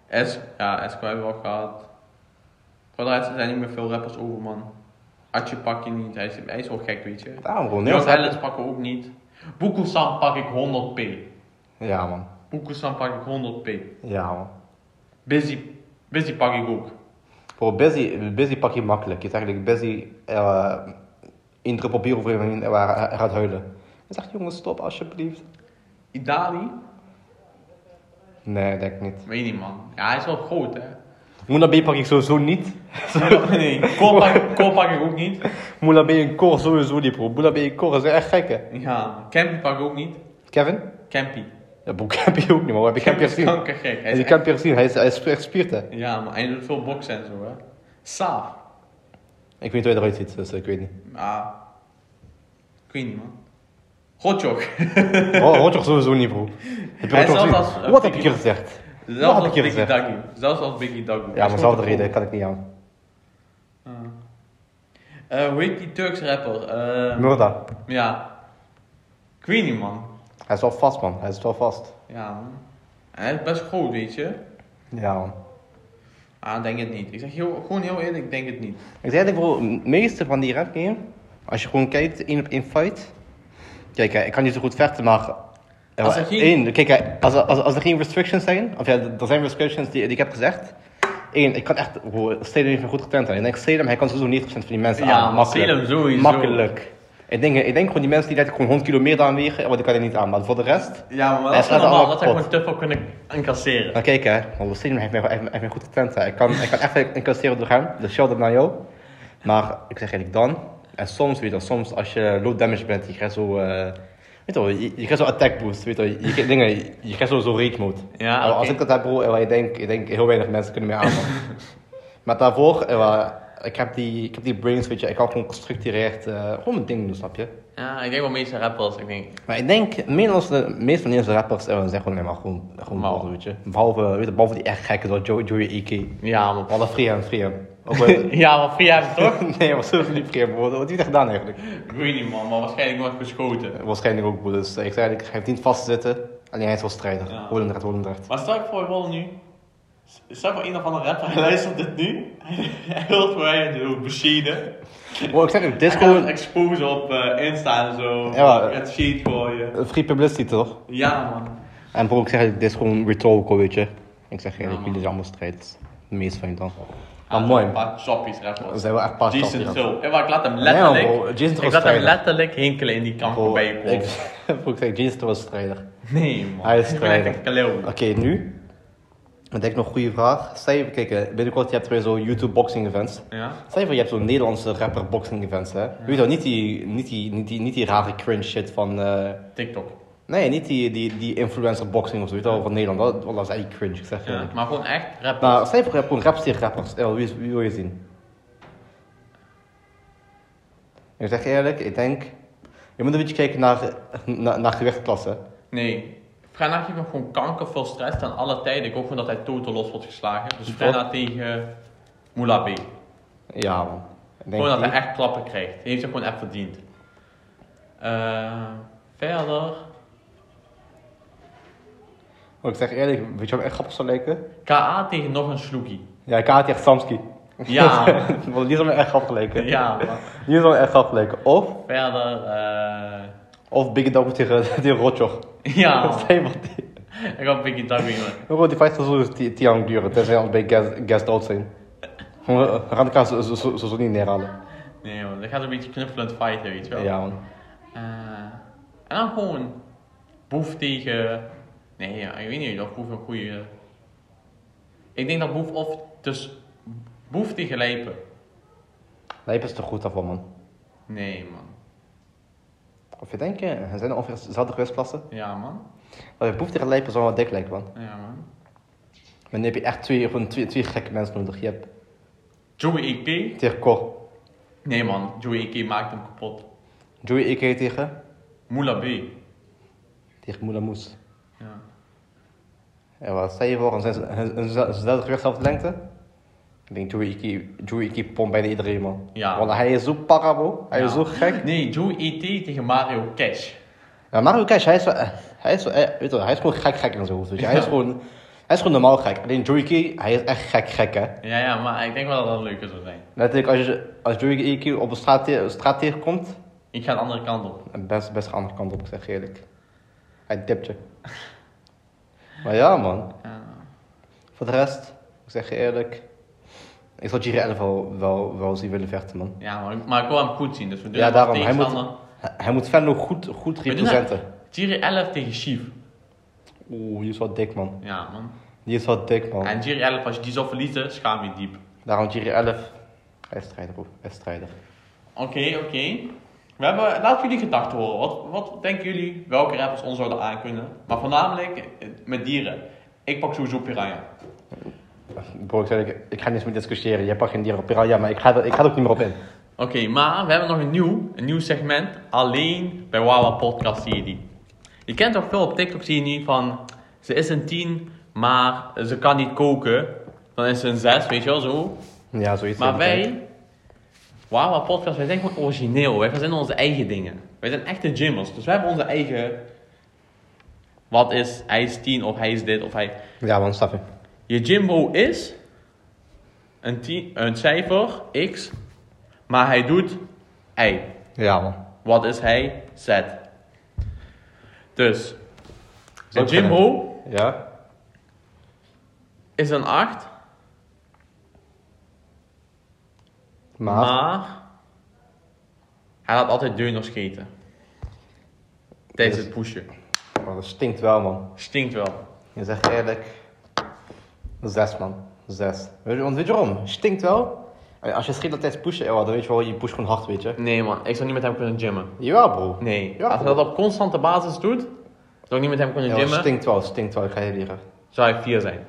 Speaker 2: S, ja, SQ hebben we al gehad. Voordat zijn niet meer veel rappers over, man. Atje pak je niet, hij is, hij is wel gek, weet je.
Speaker 1: Daarom, bro.
Speaker 2: Niels
Speaker 1: Niels
Speaker 2: Ellens pakken we ook niet. Boekelsan pak ik 100p.
Speaker 1: Ja, man.
Speaker 2: Boekelsan pak ik 100p.
Speaker 1: Ja, man.
Speaker 2: Busy, busy pak ik ook.
Speaker 1: Bro, busy, busy pak je makkelijk. Je zegt eigenlijk busy eh in druk papier over hem heen en waar hij hij gaat huilen. Je zegt jongens, stop alsjeblieft.
Speaker 2: Idali?
Speaker 1: Nee, denk ik niet.
Speaker 2: Weet niet, man. Ja, hij is wel groot, hè.
Speaker 1: Moela B pak ik sowieso niet.
Speaker 2: nee, kool pak, Cole pak ik ook niet.
Speaker 1: Moela B en Cor sowieso niet, bro. Moela B en Cor zijn echt gek, hè.
Speaker 2: Ja, Campy pak ik ook niet.
Speaker 1: Kevin?
Speaker 2: Campy.
Speaker 1: Ja, bro, Campy ook niet, man. We hebben Campy
Speaker 2: Campy is
Speaker 1: gezien. Heb
Speaker 2: kankergek. Hij
Speaker 1: je
Speaker 2: is
Speaker 1: Campy gezien? Hij is, hij is echt spierd, hè.
Speaker 2: echt- Ja, maar hij doet veel boksen en zo, hè. Saaf.
Speaker 1: Ik weet niet hoe hij eruit ziet, dus ik weet niet.
Speaker 2: Ah. Ik weet niet, man. Rotjok.
Speaker 1: Oh, hoort toch sowieso niet, bro. Heb je
Speaker 2: Hij
Speaker 1: Rotjoch
Speaker 2: zelf
Speaker 1: gezien?
Speaker 2: als, eh,
Speaker 1: Wat heb ik
Speaker 2: Biggie-
Speaker 1: hier gezegd? Wat heb
Speaker 2: Zelfs als
Speaker 1: ik hier
Speaker 2: Biggie
Speaker 1: gezegd?
Speaker 2: Duggy. Zelfs als Biggie Duggy.
Speaker 1: Ja, maar zelfde reden kan ik niet aan.
Speaker 2: Ah. Eh, hoe heet die Turks rapper? Eh,
Speaker 1: Murda.
Speaker 2: ja. Ik weet niet, man.
Speaker 1: Hij is wel vast, man. Hij is wel vast.
Speaker 2: Ja, man. En Hij is best groot, weet je.
Speaker 1: Ja, man.
Speaker 2: Ah, denk het niet. Ik zeg heel, gewoon heel eerlijk, ik denk het niet.
Speaker 1: Ik zei eigenlijk, bro, de meeste van die rap game, als je gewoon kijkt, één op één fight. Kijk, hè, ik kan niet zo goed vechten, maar... eh,
Speaker 2: Als er geen-
Speaker 1: één, kijk, hè, als, er- als, als er geen restrictions zijn, of ja, er zijn restrictions die, die ik heb gezegd. Eén, ik kan echt, bro, Salem heeft me goed getraind. hè. Ik denk, Salem, hij kan sowieso 90% van die mensen
Speaker 2: Ja,
Speaker 1: aan.
Speaker 2: maar
Speaker 1: Makkelijk.
Speaker 2: Salem sowieso.
Speaker 1: Makkelijk. Ik denk, ik denk gewoon die mensen die net gewoon 100 kilo meer dan wegen, want ik kan er niet aan. Maar voor de rest...
Speaker 2: Ja, maar
Speaker 1: Hij slaat
Speaker 2: dat is normaal.
Speaker 1: allemaal
Speaker 2: Dat zou
Speaker 1: kapot.
Speaker 2: gewoon te veel kunnen incasseren.
Speaker 1: Maar kijk hè, want Lucien heeft mij, heeft, mij- heeft mij goed getraind. Hè. Ik, kan, ik kan echt incasseren door hem, dus shout out naar jou. Maar ik zeg eigenlijk dan, en soms weet je, wel, soms als je low damage bent, je krijgt zo, eh, weet je, wel, je, je krijgt zo attack boost, weet je, wel, je, krijgt dingen, je krijgt zo, zo rage mode.
Speaker 2: Ja,
Speaker 1: En Als
Speaker 2: oké.
Speaker 1: ik dat heb bro, eh, ik denk, ik denk heel weinig mensen kunnen mij aanvallen. maar daarvoor, eh, wel, ik, heb die, ik heb die brains, weet je, ik kan gewoon gestructureerd, eh, gewoon mijn ding doen, snap je?
Speaker 2: Ja, ik denk wel meeste rappers. Ik denk,
Speaker 1: Maar ik denk, meer dan de meeste van deze rappers eh, zijn gewoon alleen maar gewoon, gewoon
Speaker 2: Mal.
Speaker 1: ballen, weet je. Behalve, weet je, behalve die echt gekken, zoals Joey, Joey EK.
Speaker 2: ja, man.
Speaker 1: Alle free hem, free hem. Ook wel-
Speaker 2: Ja, maar Free hebben toch?
Speaker 1: nee, was sowieso niet free hem, broer. Wat heeft hij gedaan eigenlijk?
Speaker 2: Ik weet niet, man. Maar waarschijnlijk wordt geschoten.
Speaker 1: Waarschijnlijk ook, broer. Dus eh, ik zei eigenlijk, hij heeft niet vastzitten. Alleen hij is wel strijder.
Speaker 2: Ja.
Speaker 1: Holendrecht, Holendrecht.
Speaker 2: Maar stel ik voor wel nu. Stel voor een of andere rapper, hij luistert dit nu. Hij hoort mij in de machine.
Speaker 1: Bro, ik zeg ook, dit is
Speaker 2: Hij gaat het
Speaker 1: gewoon
Speaker 2: exposen op eh, Insta en zo.
Speaker 1: Ja, maar-
Speaker 2: Het sheet gooien.
Speaker 1: eh, free publicity, toch?
Speaker 2: Ja, man.
Speaker 1: En bro, ik zeg eigenlijk, dit is gewoon rhetorical, weet je. Ik zeg
Speaker 2: Ja,
Speaker 1: eigenlijk,
Speaker 2: man.
Speaker 1: jullie zijn allemaal strijders. De meeste van je dan. Maar mooi.
Speaker 2: Een paar choppies rappers.
Speaker 1: Ze hebben echt pas
Speaker 2: Jason Till. En maar ik laat hem letterlijk.
Speaker 1: Nee, bro, Jason Till
Speaker 2: ik
Speaker 1: is
Speaker 2: laat hem
Speaker 1: strijder.
Speaker 2: letterlijk hinkelen in die kanker bij je
Speaker 1: ik,
Speaker 2: kop.
Speaker 1: bro, ik zeg, Jason was strijder.
Speaker 2: Nee, man.
Speaker 1: Hij is
Speaker 2: Ik ben echt
Speaker 1: strijder.
Speaker 2: een kaleel.
Speaker 1: Oké, nu. Ik denk nog een goede vraag. Stel je, kijk, eh, binnenkort je hebt weer zo'n YouTube boxing events.
Speaker 2: Ja.
Speaker 1: Stel je voor, je hebt zo'n Nederlandse rapper boxing events, hè? Weet je wel, niet die, niet die, niet die, niet die rare cringe shit van... eh,
Speaker 2: TikTok.
Speaker 1: nee, niet die, die, die influencer boxing of zo, weet je wel, van Nederland. Dat, want dat is eigenlijk cringe, ik zeg je.
Speaker 2: Ja. Maar gewoon echt rappers.
Speaker 1: Nou, stel je voor, je hebt gewoon raps tegen rappers. Eh, wie, is- wie wil je zien? Ik zeg je eerlijk, ik denk... Je moet een beetje kijken naar, naar, naar gewichtsklassen.
Speaker 2: Nee. Vrijdag heeft hem gewoon kanker, veel stress ten alle tijden. Ik hoop gewoon dat hij totaal los wordt geslagen. Dus Vrijdag tegen Moula B.
Speaker 1: Ja, man. Ik denk
Speaker 2: Gewoon dat
Speaker 1: die-
Speaker 2: hij echt klappen krijgt. Hij heeft het gewoon echt verdiend. Eh, verder.
Speaker 1: Maar Oh, ik zeg eerlijk, weet je wat me echt grappig zou lijken?
Speaker 2: KA tegen nog een sloekie.
Speaker 1: Ja, Kaat tegen Samski.
Speaker 2: Ja,
Speaker 1: Want die zou me echt grappig lijken.
Speaker 2: ja. man.
Speaker 1: Die zou me echt grappig lijken. Of,
Speaker 2: Verder. eh
Speaker 1: Of Biggie Dog tegen, tegen Rotjoch.
Speaker 2: Ja,
Speaker 1: Dat is helemaal die.
Speaker 2: ik had Biggie Doug weer. maar-
Speaker 1: Bro, die fight zal sowieso ti- tien jaar lang duren, tenzij we bij gas, gas dood zijn. We gaan elkaar zo- zo- zo zo niet neerhalen.
Speaker 2: Nee man, dat gaat een beetje knuffelend fighten, weet je wel.
Speaker 1: Ja, man.
Speaker 2: Eh, en dan gewoon Boef tegen. Nee, ja, ik weet niet of Boef een goede. Ik denk dat Boef of. Dus Boef tegen Lijpen.
Speaker 1: Lijp is te goed daarvoor, man.
Speaker 2: Nee, man.
Speaker 1: Of je denkt, eh, zijn er ongeveer dezelfde gewichtsklassen?
Speaker 2: Ja, man.
Speaker 1: Maar je boef tegen Lijp is wel wat dik lijkt, man.
Speaker 2: Ja, man.
Speaker 1: Maar dan heb je echt twee, gewoon twee, twee gekke mensen nodig. Je hebt
Speaker 2: Joey EK.
Speaker 1: tegen Cor,
Speaker 2: Nee, man. Joey EK maakt hem kapot.
Speaker 1: Joey EK tegen,
Speaker 2: Moula B.
Speaker 1: tegen Moela Moes.
Speaker 2: Ja.
Speaker 1: En wat stel je voor, een zes- een- een zes- dezelfde gewichtszelfde lengte? Ik denk, Joey Iki, Joey Iki pompt bijna iedereen, man.
Speaker 2: Ja.
Speaker 1: Want hij is zo parabo, hij is zo
Speaker 2: Ja.
Speaker 1: gek.
Speaker 2: Nee, Joey ET tegen Mario Cash.
Speaker 1: Ja, Mario Cash, hij is, wel- eh, hij is, wel- eh, weet je, wel, hij is gewoon gek gek in zijn hoofd. Weet je. Hij, is
Speaker 2: Ja.
Speaker 1: gewoon, hij is gewoon normaal gek. Alleen Joey Iki, hij is echt gek gek, hè.
Speaker 2: Ja, ja, maar ik denk wel dat dat leuker zou zijn.
Speaker 1: Letterlijk, als, je, als Joey Iki op een straat, te- straat tegenkomt,
Speaker 2: Ik ga de andere kant op.
Speaker 1: best, best de andere kant op, ik zeg je eerlijk. Hij tipt je. maar ja, man.
Speaker 2: Ja.
Speaker 1: Voor de rest, ik zeg je eerlijk. Ik zou Jiri 11 wel, wel, wel zien willen vechten, man.
Speaker 2: Ja, maar, ik- maar ik wil hem goed zien, dus we doen
Speaker 1: Ja,
Speaker 2: hem
Speaker 1: daarom.
Speaker 2: als
Speaker 1: Hij moet-
Speaker 2: tegenstander.
Speaker 1: Hij hij moet Venlo goed, goed
Speaker 2: doen
Speaker 1: representen.
Speaker 2: Jiri 11 tegen Chief.
Speaker 1: Oeh, die is wel dik, man.
Speaker 2: Ja, man.
Speaker 1: Die is wel dik, man.
Speaker 2: En Jiri 11, als je die zou verliezen, schaam je diep.
Speaker 1: Daarom Jiri 11. Hij is strijder, bro. Hij is strijder.
Speaker 2: Oké, oké. We hebben, laat jullie gedachten horen. Wat, wat denken jullie welke rappers ons zouden aankunnen? Maar voornamelijk eh, met dieren. Ik pak sowieso Piranha.
Speaker 1: Bro, ik, zeg, ik, ik ga niet eens meer discussiëren. Jij pakt geen dieren op Piranha, maar ik ga, er- ik ga er ook niet meer op in.
Speaker 2: Oké, maar we hebben nog een nieuw, een nieuw segment. Alleen bij Wawa Podcast zie je die. Je kent toch veel op TikTok zie je nu van... Ze is een tien, maar ze kan niet koken. Dan is ze een zes, weet je wel zo.
Speaker 1: Ja, zoiets.
Speaker 2: Maar wij... Wawa Podcast, wij zijn gewoon origineel. Wij verzinnen onze eigen dingen. Wij zijn echte gymmers. Dus wij hebben onze eigen... Wat is, hij is tien, of hij is dit, of hij...
Speaker 1: Ja, man, snap je.
Speaker 2: Je Jimbo is een, tien, een cijfer, x, maar hij doet y.
Speaker 1: Ja, man.
Speaker 2: Wat is hij? Z. Dus, een
Speaker 1: ook
Speaker 2: Jimbo
Speaker 1: Ja?
Speaker 2: is een 8,
Speaker 1: Maar,
Speaker 2: maar hij laat altijd deuners eten. Tijdens
Speaker 1: Dus-
Speaker 2: het pushen.
Speaker 1: maar Oh, dat stinkt wel, man.
Speaker 2: Stinkt wel.
Speaker 1: Je zegt eerlijk. Zes, man. Zes. Weet je, want weet je waarom? Stinkt wel. Als je schiet dat tijdens pushen, eeuw, dan weet je wel, je pusht gewoon hard, weet je.
Speaker 2: Nee man, ik zou niet met hem kunnen gymmen.
Speaker 1: Jawel, bro.
Speaker 2: Nee,
Speaker 1: Ja,
Speaker 2: als hij dat op constante basis doet, zou ik niet met hem kunnen
Speaker 1: Ja,
Speaker 2: gymmen,
Speaker 1: stinkt wel, stinkt wel. Ik ga je leren.
Speaker 2: zou hij 4 zijn.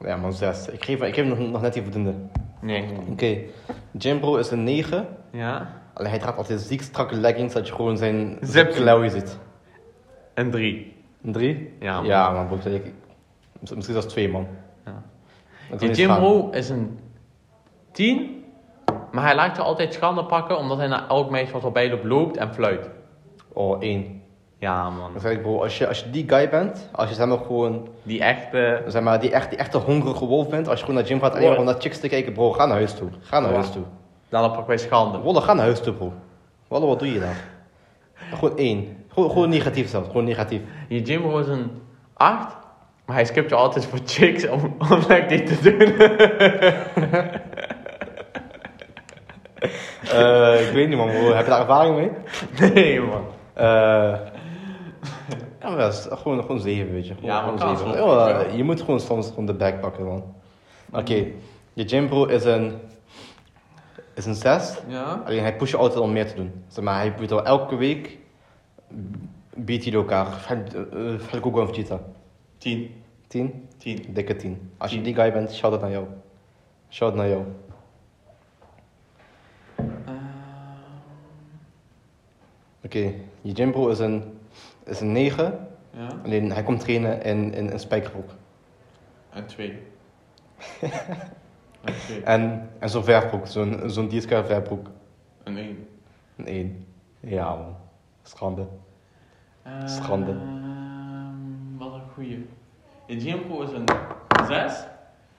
Speaker 1: Ja, man, 6. Ik geef, ik geef nog, nog net die voldoende. Oké.
Speaker 2: Nee.
Speaker 1: Jimbro is een 9.
Speaker 2: Ja,
Speaker 1: Alleen hij draagt altijd ziek strakke leggings, dat je gewoon zijn
Speaker 2: Zip.
Speaker 1: klauwen ziet.
Speaker 2: een 3.
Speaker 1: Een 3?
Speaker 2: Ja, man.
Speaker 1: Ja, man, broer, ik, misschien misschien zelfs 2, man.
Speaker 2: Ja.
Speaker 1: Dat is
Speaker 2: Die
Speaker 1: niet
Speaker 2: Jim
Speaker 1: schaam.
Speaker 2: Roe is een 10, maar hij laat je altijd schande pakken omdat hij naar elk meisje wat erbij loopt loopt en fluit.
Speaker 1: Oh, 1.
Speaker 2: Ja, man.
Speaker 1: Dan zeg ik, bro, als je, als je die guy bent, als je zeg maar gewoon,
Speaker 2: Die echte.
Speaker 1: zeg maar, die, echt, die echte hongerige wolf bent, als je gewoon naar Jim gaat alleen maar om naar chicks te kijken, bro, ga naar huis toe. Ga naar
Speaker 2: Ja.
Speaker 1: huis toe.
Speaker 2: Dan pak wij schande.
Speaker 1: Wolle, ga naar huis toe, bro. Wolle, wat doe je daar? Gewoon 1. Gewoon, gewoon negatief zelfs, gewoon negatief.
Speaker 2: Die Jim Roe is een 8, maar hij skipt je altijd voor chicks om, om leuk dit te doen.
Speaker 1: Eh, ik weet niet, man. Bro. Heb je daar ervaring mee?
Speaker 2: Nee, man.
Speaker 1: Eh ja, maar dat is gewoon, gewoon zeven, weet je. Gewoon,
Speaker 2: Ja, maar
Speaker 1: gewoon
Speaker 2: kan
Speaker 1: zeven.
Speaker 2: het wel.
Speaker 1: Ja, je moet gewoon soms gewoon de back pakken, man. Oké, je gymbro is een... Is een zes.
Speaker 2: Ja?
Speaker 1: Alleen hij pusht je altijd om meer te doen. Zeg maar, hij doet al elke week... Biedt hij elkaar. eh, Verder Google en Vegeta.
Speaker 2: 10.
Speaker 1: Tien?
Speaker 2: 10.
Speaker 1: Dikke tien. Als je
Speaker 2: Tien.
Speaker 1: die guy bent, shout-out naar jou. Shout-out naar jou.
Speaker 2: Eh,
Speaker 1: Oké, je gymbro is een... Is een negen.
Speaker 2: Ja?
Speaker 1: Alleen hij komt trainen in, in een spijkerbroek.
Speaker 2: En 2. En 2.
Speaker 1: En, en zo'n verfbroek, zo'n zo'n DSK verfbroek.
Speaker 2: En 1.
Speaker 1: Een één. Ja man, schande. Schande.
Speaker 2: Ehm, wat een goeie. De Jimbo is een 6,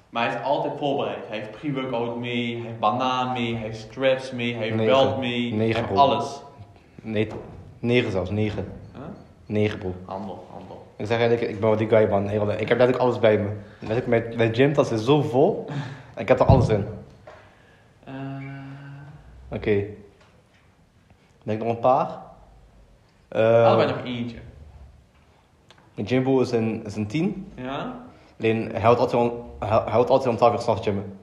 Speaker 2: maar hij is altijd voorbereid. Hij heeft pre-workout mee, hij heeft banaan mee, hij heeft straps mee, hij heeft
Speaker 1: Negen.
Speaker 2: belt mee,
Speaker 1: Negen,
Speaker 2: hij heeft
Speaker 1: bro.
Speaker 2: alles.
Speaker 1: Nee, Negen zelfs, negen.
Speaker 2: Huh?
Speaker 1: Negen, bro.
Speaker 2: Handel, handel.
Speaker 1: Ik zeg eigenlijk, ik ben wel die guy, man. Heel, ik heb letterlijk alles bij me. Letterlijk, mijn, mijn gymtas is zo vol. En ik heb er alles in. Oké.
Speaker 2: Eh,
Speaker 1: Denk nog een paar. Eh,
Speaker 2: allebei nog eentje.
Speaker 1: Jimbo is een, is een tien.
Speaker 2: Ja?
Speaker 1: Alleen, hij houdt altijd om, hij houdt altijd om 12 uur s'nachts gymmen.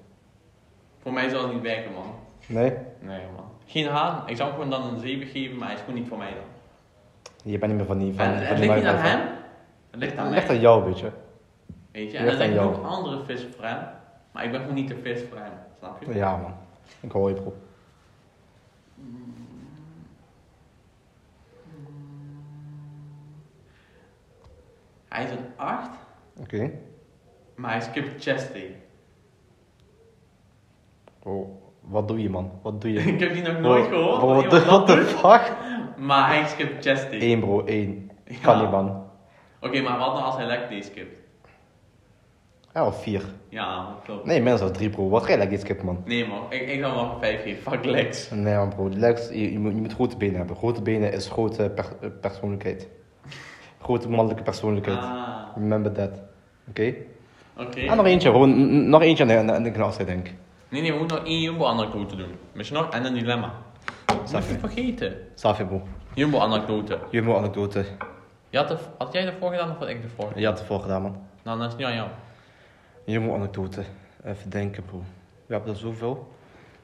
Speaker 2: Voor mij zal het niet werken, man.
Speaker 1: Nee?
Speaker 2: Nee, man. Geen haat. Ik zou hem gewoon dan een 7 geven, maar hij is gewoon niet voor mij dan.
Speaker 1: Je bent niet meer van die... Van,
Speaker 2: En
Speaker 1: van
Speaker 2: het
Speaker 1: die
Speaker 2: ligt niet aan
Speaker 1: mindset.
Speaker 2: hem, eh? het ligt aan
Speaker 1: Het ligt
Speaker 2: mij.
Speaker 1: aan jou, weet je.
Speaker 2: Weet
Speaker 1: ligt
Speaker 2: je, en er
Speaker 1: aan
Speaker 2: zijn
Speaker 1: jou.
Speaker 2: ook andere vissen voor hem, maar ik ben gewoon niet de vis voor hem, snap je?
Speaker 1: Ja, man. Ik hoor je, bro.
Speaker 2: Hij is een 8,
Speaker 1: Oké.
Speaker 2: maar hij skipt chest day.
Speaker 1: Bro, wat doe je, man? Wat doe je?
Speaker 2: ik heb die nog nooit
Speaker 1: Bro,
Speaker 2: gehoord,
Speaker 1: bro,
Speaker 2: wat
Speaker 1: What the, what
Speaker 2: iemand dat
Speaker 1: the
Speaker 2: doet,
Speaker 1: fuck?
Speaker 2: maar hij skipt chest day.
Speaker 1: Eén, bro. Één.
Speaker 2: Ja.
Speaker 1: Kan niet, man.
Speaker 2: Oké, maar wat nou als hij leg day skipt?
Speaker 1: Ja, of vier.
Speaker 2: Ja, klopt.
Speaker 1: Nee, mensen als drie, bro. Wat ga je lekker skip, man?
Speaker 2: Nee man, ik, ik zou hem wel een 5 geven, fuck E legs.
Speaker 1: Nee, man, bro. Lex, je, je moet, je moet grote benen hebben. Grote benen is grote per- eh, persoonlijkheid. Grote mannelijke persoonlijkheid.
Speaker 2: Ah, Eh.
Speaker 1: Remember that. Oké?
Speaker 2: oké.
Speaker 1: En Ah, nog eentje, bro. N- n- Nog eentje en dan- dan denk ik afscheid, denk ik.
Speaker 2: Nee, nee, we moeten nog één Jumbo anekdote doen. Misschien nog, en een dilemma. Dat heb je vergeten.
Speaker 1: Safi, bro.
Speaker 2: Jumbo anekdote.
Speaker 1: Je moet anekdote.
Speaker 2: Je had, de, had jij de vorige gedaan of had ik de vorige?
Speaker 1: Je had het voor gedaan, man.
Speaker 2: Nou, dat is niet aan jou.
Speaker 1: Je moet anekdote. Even denken, bro. We hebben er zoveel.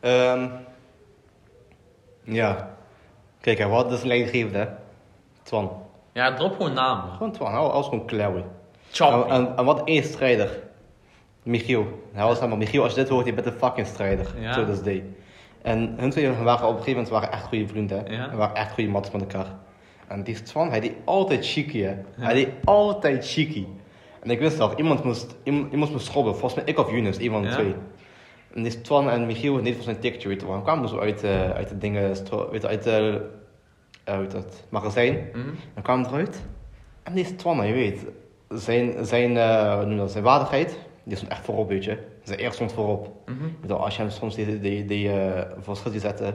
Speaker 1: Ehm ja. Kijk, hè, wat is een leidinggevende, hè? Twan.
Speaker 2: Ja, drop gewoon namen.
Speaker 1: Gewoon Twan, hou als gewoon Clary. En,
Speaker 2: Chop.
Speaker 1: Oh, en, en wat één strijder. Michiel. Hij was helemaal Michiel, als je dit hoort, je bent een fucking strijder.
Speaker 2: Ja.
Speaker 1: To this day. En hun twee waren op een gegeven moment waren echt goede vrienden.
Speaker 2: Ja.
Speaker 1: En waren echt goede matten met elkaar. En die Twan, hij deed altijd cheeky, hè. Hij deed altijd cheeky. En ik wist dat, iemand moest, iemand, iemand moest schrobben. Volgens mij ik of Yunus, een van de
Speaker 2: Ja.
Speaker 1: twee. En die Twan en Michiel, niet volgens mij een tikje, weet je wel. kwamen zo uit, eh, uit de dingen, stro- weet je, uit, de- eh, uit het magazijn.
Speaker 2: Mhm.
Speaker 1: Dan kwam het eruit. En deze Twan, je weet, zijn, zijn, eh, hoe noem je dat, zijn waardigheid, die stond echt voorop, weet je. Zijn eer stond voorop.
Speaker 2: Mhm.
Speaker 1: Ik bedoel, als je hem soms die, die, die eh, voor schutting zette, weet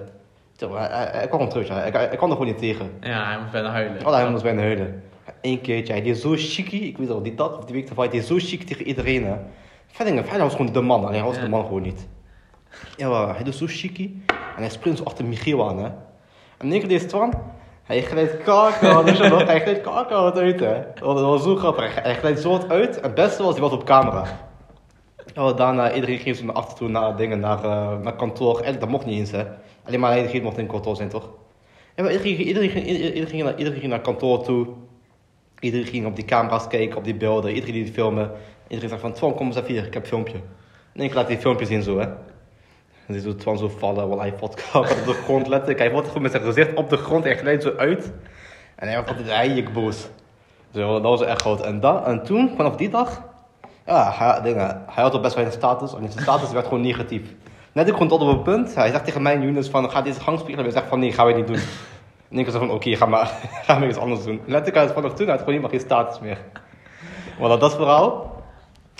Speaker 1: je wel, hij, hij- hij kwam hem terug, ja. hij, hij, hij kwam er gewoon niet tegen.
Speaker 2: Ja, hij moet bijna huilen.
Speaker 1: Oh, hij moest bijna huilen. Eén keertje, hij deed zo chiquie, ik weet wel, die dat of die week ervoor, hij deed zo chic tegen iedereen. Hè. Verder, verder was gewoon de man, alleen hij was
Speaker 2: Ja.
Speaker 1: de man gewoon niet. Ja, maar hij doet zo chiquie en hij sprint zo achter Michiel aan, hè. En in één keer deze Twan, hij glijdt kakker, dus je nog, hij glijdt kakker wat uit, hè. Dat was zo grappig, hij- hij glijdt zo wat uit en het beste was, hij was op camera. Ja, daarna, iedereen ging zo naar achter toe, naar dingen, naar, eh, naar kantoor. Eigenlijk, dat mocht niet eens, hè. Alleen maar iedereen mocht in kantoor zijn, toch? Ja, maar iedereen, ging- iedereen, ging- iedereen, ging naar, iedereen ging naar kantoor toe. Iedereen ging op die camera's kijken, op die beelden. Iedereen die het filmen. Iedereen zei van, Twan, kom eens even hier, ik heb een filmpje. En ik laat die filmpjes zien zo, hè. En die doet Twan zo vallen, want hij valt kapot op de grond, letterlijk. Hij valt gewoon met zijn gezicht op de grond, hij glijdt zo uit. En hij wordt altijd eigenlijk boos. Zo, dat was echt groot. En, dan, en toen, vanaf die dag, ja, hij, dingen, hij had al best wel een status. En zijn status werd gewoon negatief. Net ik komt tot op een punt. Hij zegt tegen mij, Younes, van, ga deze gangspiegel. En hij zegt van, nee, gaan we niet doen. En ik was van, oké, ga maar, ga maar iets anders doen. Letterlijk, hij had vanaf toen hij had gewoon helemaal geen status meer. Want dat, dat verhaal,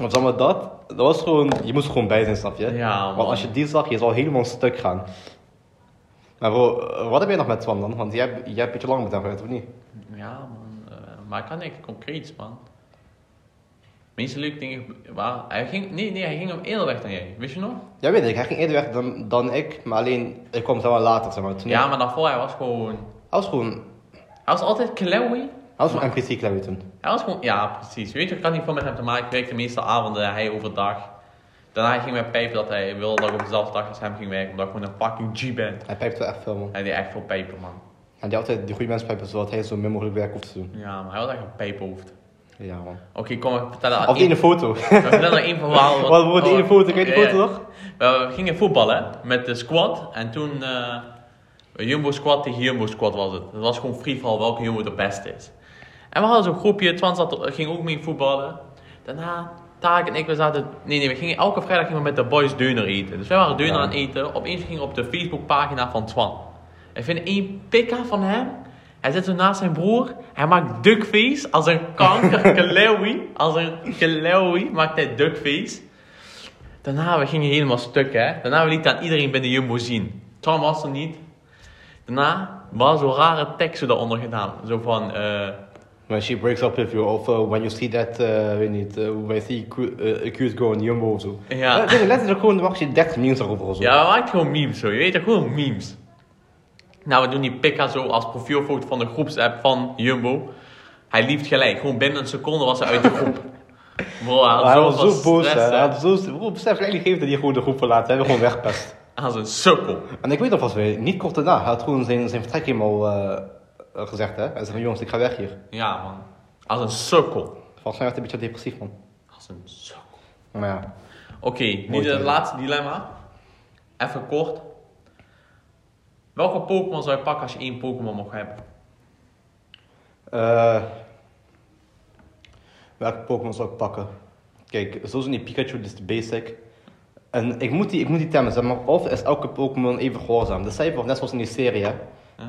Speaker 1: of zeg maar dat, dat was gewoon, je moest er gewoon bij zijn, snap je?
Speaker 2: Ja, man.
Speaker 1: Want als je die zag, je zal helemaal stuk gaan. Maar bro, wat heb jij nog met Twan dan? Want jij, hebt- jij hebt een beetje lang met hem gehad, of niet?
Speaker 2: Ja, man. eh, maar kan ik concreets, man? De meeste leuke dingen waren... Hij ging... Nee, nee, hij ging op eerder weg dan jij. Wist je nog?
Speaker 1: Ja, weet ik. Hij ging eerder weg dan, dan ik, maar alleen, ik kwam zeg maar later, zeg maar. Toen
Speaker 2: Ja, maar daarvoor hij was gewoon...
Speaker 1: Hij was gewoon,
Speaker 2: Hij was altijd klewy.
Speaker 1: hij was een NPC klaar toen.
Speaker 2: Hij was gewoon... Ja, precies. Weet je, ik had niet veel met hem te maken. Ik werkte de meeste avonden, hij overdag. Daarna ging hij mij pijpen dat hij wilde dat ik op dezelfde dag als hem ging werken. Omdat ik gewoon een fucking G ben.
Speaker 1: Hij pijpt wel echt veel, man.
Speaker 2: Hij deed echt veel pijpen, man.
Speaker 1: En die altijd die goede mensen pijpen, zodat hij zo min mogelijk werk hoeft te doen.
Speaker 2: Ja, maar hij was echt een pijpenhoofd.
Speaker 1: Ja, man.
Speaker 2: Oké, kom, Ah, ik vertel aan
Speaker 1: Of die ene foto.
Speaker 2: We vertellen nog één verhaal.
Speaker 1: Wat wordt die ene foto? Ken je die
Speaker 2: Oh, Ja,
Speaker 1: foto
Speaker 2: ja.
Speaker 1: nog?
Speaker 2: We we gingen voetballen met de squad. En toen eh Jumbo squad tegen Jumbo squad was het. Het was gewoon free for all welke Jumbo de beste is. En we hadden zo'n groepje. Twan zat, ging ook mee voetballen. Daarna Taak en ik we zaten... Nee, nee, we gingen, elke vrijdag gingen we met de boys deuner eten. Dus wij waren deuner
Speaker 1: Ja.
Speaker 2: aan het eten. Opeens gingen we op de Facebookpagina van Twan. Ik vind één pika van hem. Hij zit zo naast zijn broer. Hij maakt duckface als een kanker kalewi. Als een kalewi maakt hij duckface. Daarna, we gingen helemaal stuk, hè. Daarna, we lieten aan iedereen binnen Jumbo zien. Tom was er niet. Daarna, maar zo rare teksten eronder gedaan. Zo van, eh,
Speaker 1: When she breaks up with you, of uh, when you see that, eh, weet niet, eh, when you see cu- eh, a cute girl in Jumbo of zo.
Speaker 2: Ja.
Speaker 1: Eh, weet je, letterlijk gewoon, dan mag je 30 memes erover of zo.
Speaker 2: ja, we maken gewoon memes zo. Je weet toch gewoon memes. Nou, we doen die Pika zo als profielfoto van de groepsapp van Jumbo. Hij liefde gelijk. Gewoon binnen een seconde was hij uit de groep. Bro, hij had
Speaker 1: Maar hij
Speaker 2: zoveel
Speaker 1: was zo boos, hè.
Speaker 2: stress,
Speaker 1: Hij
Speaker 2: hè.
Speaker 1: had zo... Bro, besef, eigenlijk heeft hij die gewoon de groep verlaten. Hij hebben gewoon wegpest.
Speaker 2: Hij is een sukkel.
Speaker 1: En ik weet nog vast weer, niet kort daarna, hij had gewoon zijn, zijn vertrek helemaal eh, eh, gezegd, hè. Hij zei van, jongens, ik ga weg hier.
Speaker 2: Ja, man. Als een sukkel.
Speaker 1: Volgens mij werd hij een beetje depressief, man.
Speaker 2: Als een sukkel.
Speaker 1: Maar ja.
Speaker 2: Oké, nu
Speaker 1: Mooi
Speaker 2: het
Speaker 1: idee.
Speaker 2: laatste dilemma. Even kort. Welke Pokémon zou je pakken als je één Pokémon mocht hebben?
Speaker 1: Eh, welke Pokémon zou ik pakken? Kijk, zoals in die Pikachu, dit is de basic. En ik moet die, ik moet die temmen, zeg maar. Of is elke Pokémon even gehoorzaam? Dat zei je voor, net zoals in die serie, hè.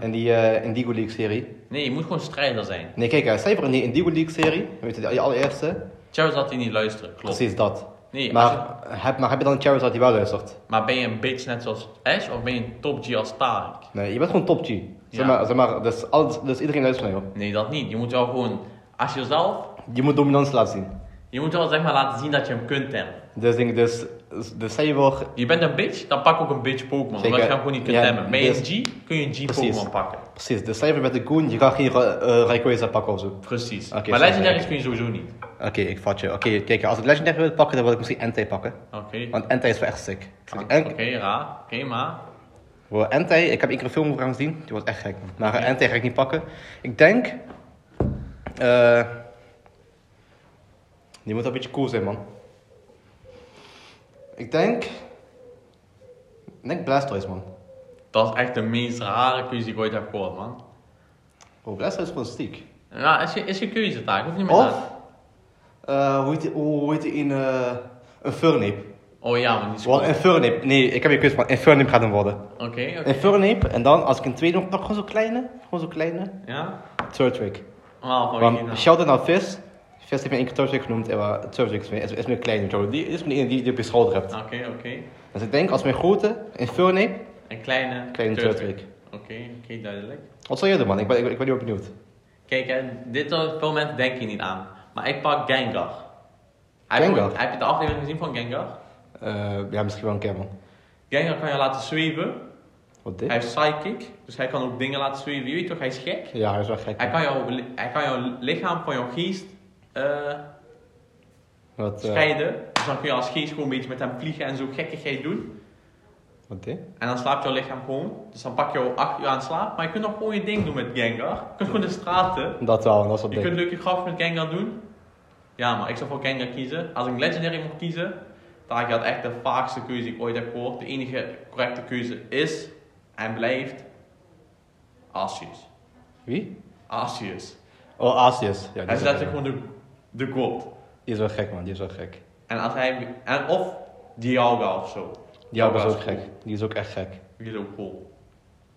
Speaker 1: In die eh Indigo League serie.
Speaker 2: Nee, je moet gewoon strijder zijn.
Speaker 1: Nee, kijk, hè, zei je voor in die Indigo League serie, weet je, die allereerste,
Speaker 2: Charizard die niet luisteren, klopt.
Speaker 1: precies dat.
Speaker 2: Nee,
Speaker 1: maar,
Speaker 2: als
Speaker 1: heb, maar heb je dan een Charizard die wel luistert?
Speaker 2: Maar ben je een bitch net zoals Ash of ben je een top G als Tarek?
Speaker 1: Nee, je bent gewoon top G. Zeg
Speaker 2: Ja.
Speaker 1: maar, zeg maar dus, alles, dus iedereen luistert naar jou.
Speaker 2: Nee, dat niet. Je moet wel gewoon, als jezelf,
Speaker 1: Je moet dominantie laten zien.
Speaker 2: je moet wel zeg maar laten zien dat je hem kunt temmen.
Speaker 1: Dus, denk, ik, dus, dus zei je voor,
Speaker 2: Je bent een bitch, dan pak ook een bitch Pokémon.
Speaker 1: Zeker.
Speaker 2: Omdat je hem gewoon niet kunt
Speaker 1: Ja,
Speaker 2: temmen. Ben je een
Speaker 1: dus-
Speaker 2: G, kun je een G
Speaker 1: Precies.
Speaker 2: Pokémon pakken.
Speaker 1: Precies, de cijfer met de Goon, je gaat geen Ra- eh, Rayquaza pakken of zo.
Speaker 2: Precies.
Speaker 1: Oké,
Speaker 2: maar
Speaker 1: snap
Speaker 2: legendaries kun je sowieso niet.
Speaker 1: Oké, ik vat je. Oké, kijk, als ik Legendary wil pakken, dan wil ik misschien Entei pakken.
Speaker 2: Oké.
Speaker 1: Want Entei is wel echt sick.
Speaker 2: Ah,
Speaker 1: En,
Speaker 2: Oké, raar. Oké, maar.
Speaker 1: Bro, Entei, ik heb één keer een film over hem gezien, die was echt gek. man. Maar eh, Entei ga ik niet pakken. Ik denk... eh, die moet wel een beetje cool zijn, man. Ik denk... Ik denk Blastoise, man.
Speaker 2: Dat is echt de meest rare keuze die ik ooit heb gehoord, man.
Speaker 1: Bro, Blastoise is gewoon stiek.
Speaker 2: Ja, is je, is je keuze taak, hoef niet meer
Speaker 1: Of...
Speaker 2: na-
Speaker 1: eh, hoe heet die, hoe heet die in... eh een Furnape.
Speaker 2: Oh ja, maar die is
Speaker 1: Wel,
Speaker 2: cool.
Speaker 1: Infernape. Nee, ik heb je quiz, maar Infernape gaat hem worden.
Speaker 2: Oké, oké.
Speaker 1: Infernape, en dan als ik een tweede nog pak, gewoon zo'n kleine, gewoon zo'n kleine.
Speaker 2: Ja?
Speaker 1: Turtwig.
Speaker 2: Wauw, van wie
Speaker 1: Want
Speaker 2: nou?
Speaker 1: shout-out naar Vis. Vis heeft me één keer Turtwig genoemd, en eh, Turtwig is mijn, is, is mijn kleine, zo. Die is mijn ene die je op je schouder hebt.
Speaker 2: nou? Oké, oké.
Speaker 1: Dus ik denk, als mijn grote, Infernape,
Speaker 2: Een kleine...
Speaker 1: kleine
Speaker 2: Turtwig.
Speaker 1: Turtwig.
Speaker 2: Oké, oké, duidelijk.
Speaker 1: Wat zou je doen, man? Ik ben, ik, ben- ik ben heel benieuwd.
Speaker 2: Kijk, hè, dit soort momenten denk je niet aan. Maar ik pak Gengar. Heb
Speaker 1: Gengar?
Speaker 2: Je, heb je de aflevering gezien van Gengar?
Speaker 1: Eh, ja, misschien wel een keer, man.
Speaker 2: Gengar kan je laten zweven.
Speaker 1: Wat
Speaker 2: Hij
Speaker 1: dit?
Speaker 2: heeft psychic, dus hij kan ook dingen laten zweven. Je weet toch, hij is gek.
Speaker 1: Ja, hij is wel gek.
Speaker 2: Hij
Speaker 1: man.
Speaker 2: kan jouw, li- hij kan jouw lichaam van jouw geest eh,
Speaker 1: Wat, eh,
Speaker 2: scheiden. Dus dan kun je als geest gewoon een beetje met hem vliegen en zo gekkigheid doen.
Speaker 1: wat dit?
Speaker 2: En dan slaapt jouw lichaam gewoon. Dus dan pak je al acht uur aan slaap. Maar je kunt nog gewoon je ding doen met Gengar. Je kunt gewoon de straten.
Speaker 1: Dat wel, dat is wat
Speaker 2: Je kunt
Speaker 1: dik.
Speaker 2: leuke graf met Gengar doen. Ja, maar ik zou voor Gengar kiezen. Als ik Legendary mocht kiezen, dan had echt de vaagste keuze die ik ooit heb gehoord. De enige correcte keuze is en blijft Arceus.
Speaker 1: Wie?
Speaker 2: Arceus.
Speaker 1: Oh, Asius. Ja,
Speaker 2: Hij
Speaker 1: die
Speaker 2: is
Speaker 1: is, wel
Speaker 2: letterlijk
Speaker 1: gek.
Speaker 2: gewoon de, de god.
Speaker 1: die is wel gek, man. Die is wel gek.
Speaker 2: En als hij, en of Dialga of zo.
Speaker 1: Die ook is ook
Speaker 2: cool.
Speaker 1: gek. Die is ook echt gek.
Speaker 2: Die is ook cool.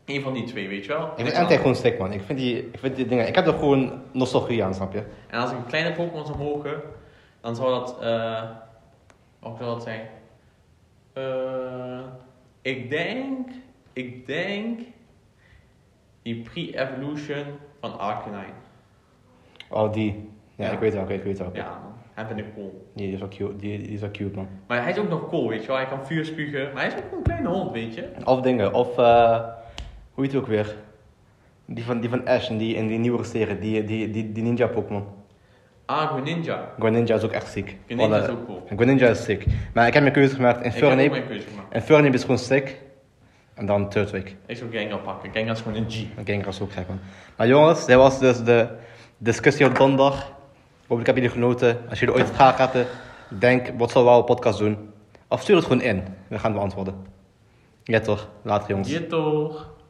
Speaker 2: Eén van die twee, weet je wel.
Speaker 1: Ik vind Entei gewoon sick, man. Ik vind die, ik vind die dingen... Ik heb er gewoon nostalgie aan, snap je?
Speaker 2: En als ik een kleine Pokémon zou mogen, dan zou dat. eh wat zou dat zijn? Eh, ik denk. Ik denk. Die pre-evolution van Arcanine.
Speaker 1: Oh, die. Ja,
Speaker 2: Ja.
Speaker 1: ik weet wel, ik weet, ik weet wel.
Speaker 2: Ja, man. Hij vind ik cool.
Speaker 1: Die is wel cute, die, die is wel cute, man.
Speaker 2: Maar hij is ook nog cool, weet je wel. Hij kan vuur spugen. Maar hij is ook gewoon een kleine hond, weet je.
Speaker 1: Of dingen, of... eh, hoe heet het ook weer? Die van, die van Ash in die, in die nieuwere serie, die, die, die, die ninja Pokémon.
Speaker 2: Ah, Greninja.
Speaker 1: Greninja is ook echt ziek.
Speaker 2: Greninja
Speaker 1: Alle-
Speaker 2: is ook cool.
Speaker 1: Greninja is sick. Maar ik heb mijn keuze gemaakt.
Speaker 2: Ik heb ook
Speaker 1: Infernape,
Speaker 2: mijn keuze gemaakt.
Speaker 1: Infernape is gewoon sick. En dan Turtwig.
Speaker 2: Ik zou Gengar pakken. Gengar is gewoon een G.
Speaker 1: En Gengar is ook gek, man. Maar jongens, dit was dus de discussie op donderdag. Hopelijk hebben jullie genoten. Als jullie ooit vragen hadden, denk, wat zullen we wel een podcast doen? Of stuur het gewoon in. We gaan beantwoorden. Ja toch, later jongens.
Speaker 2: Je toch?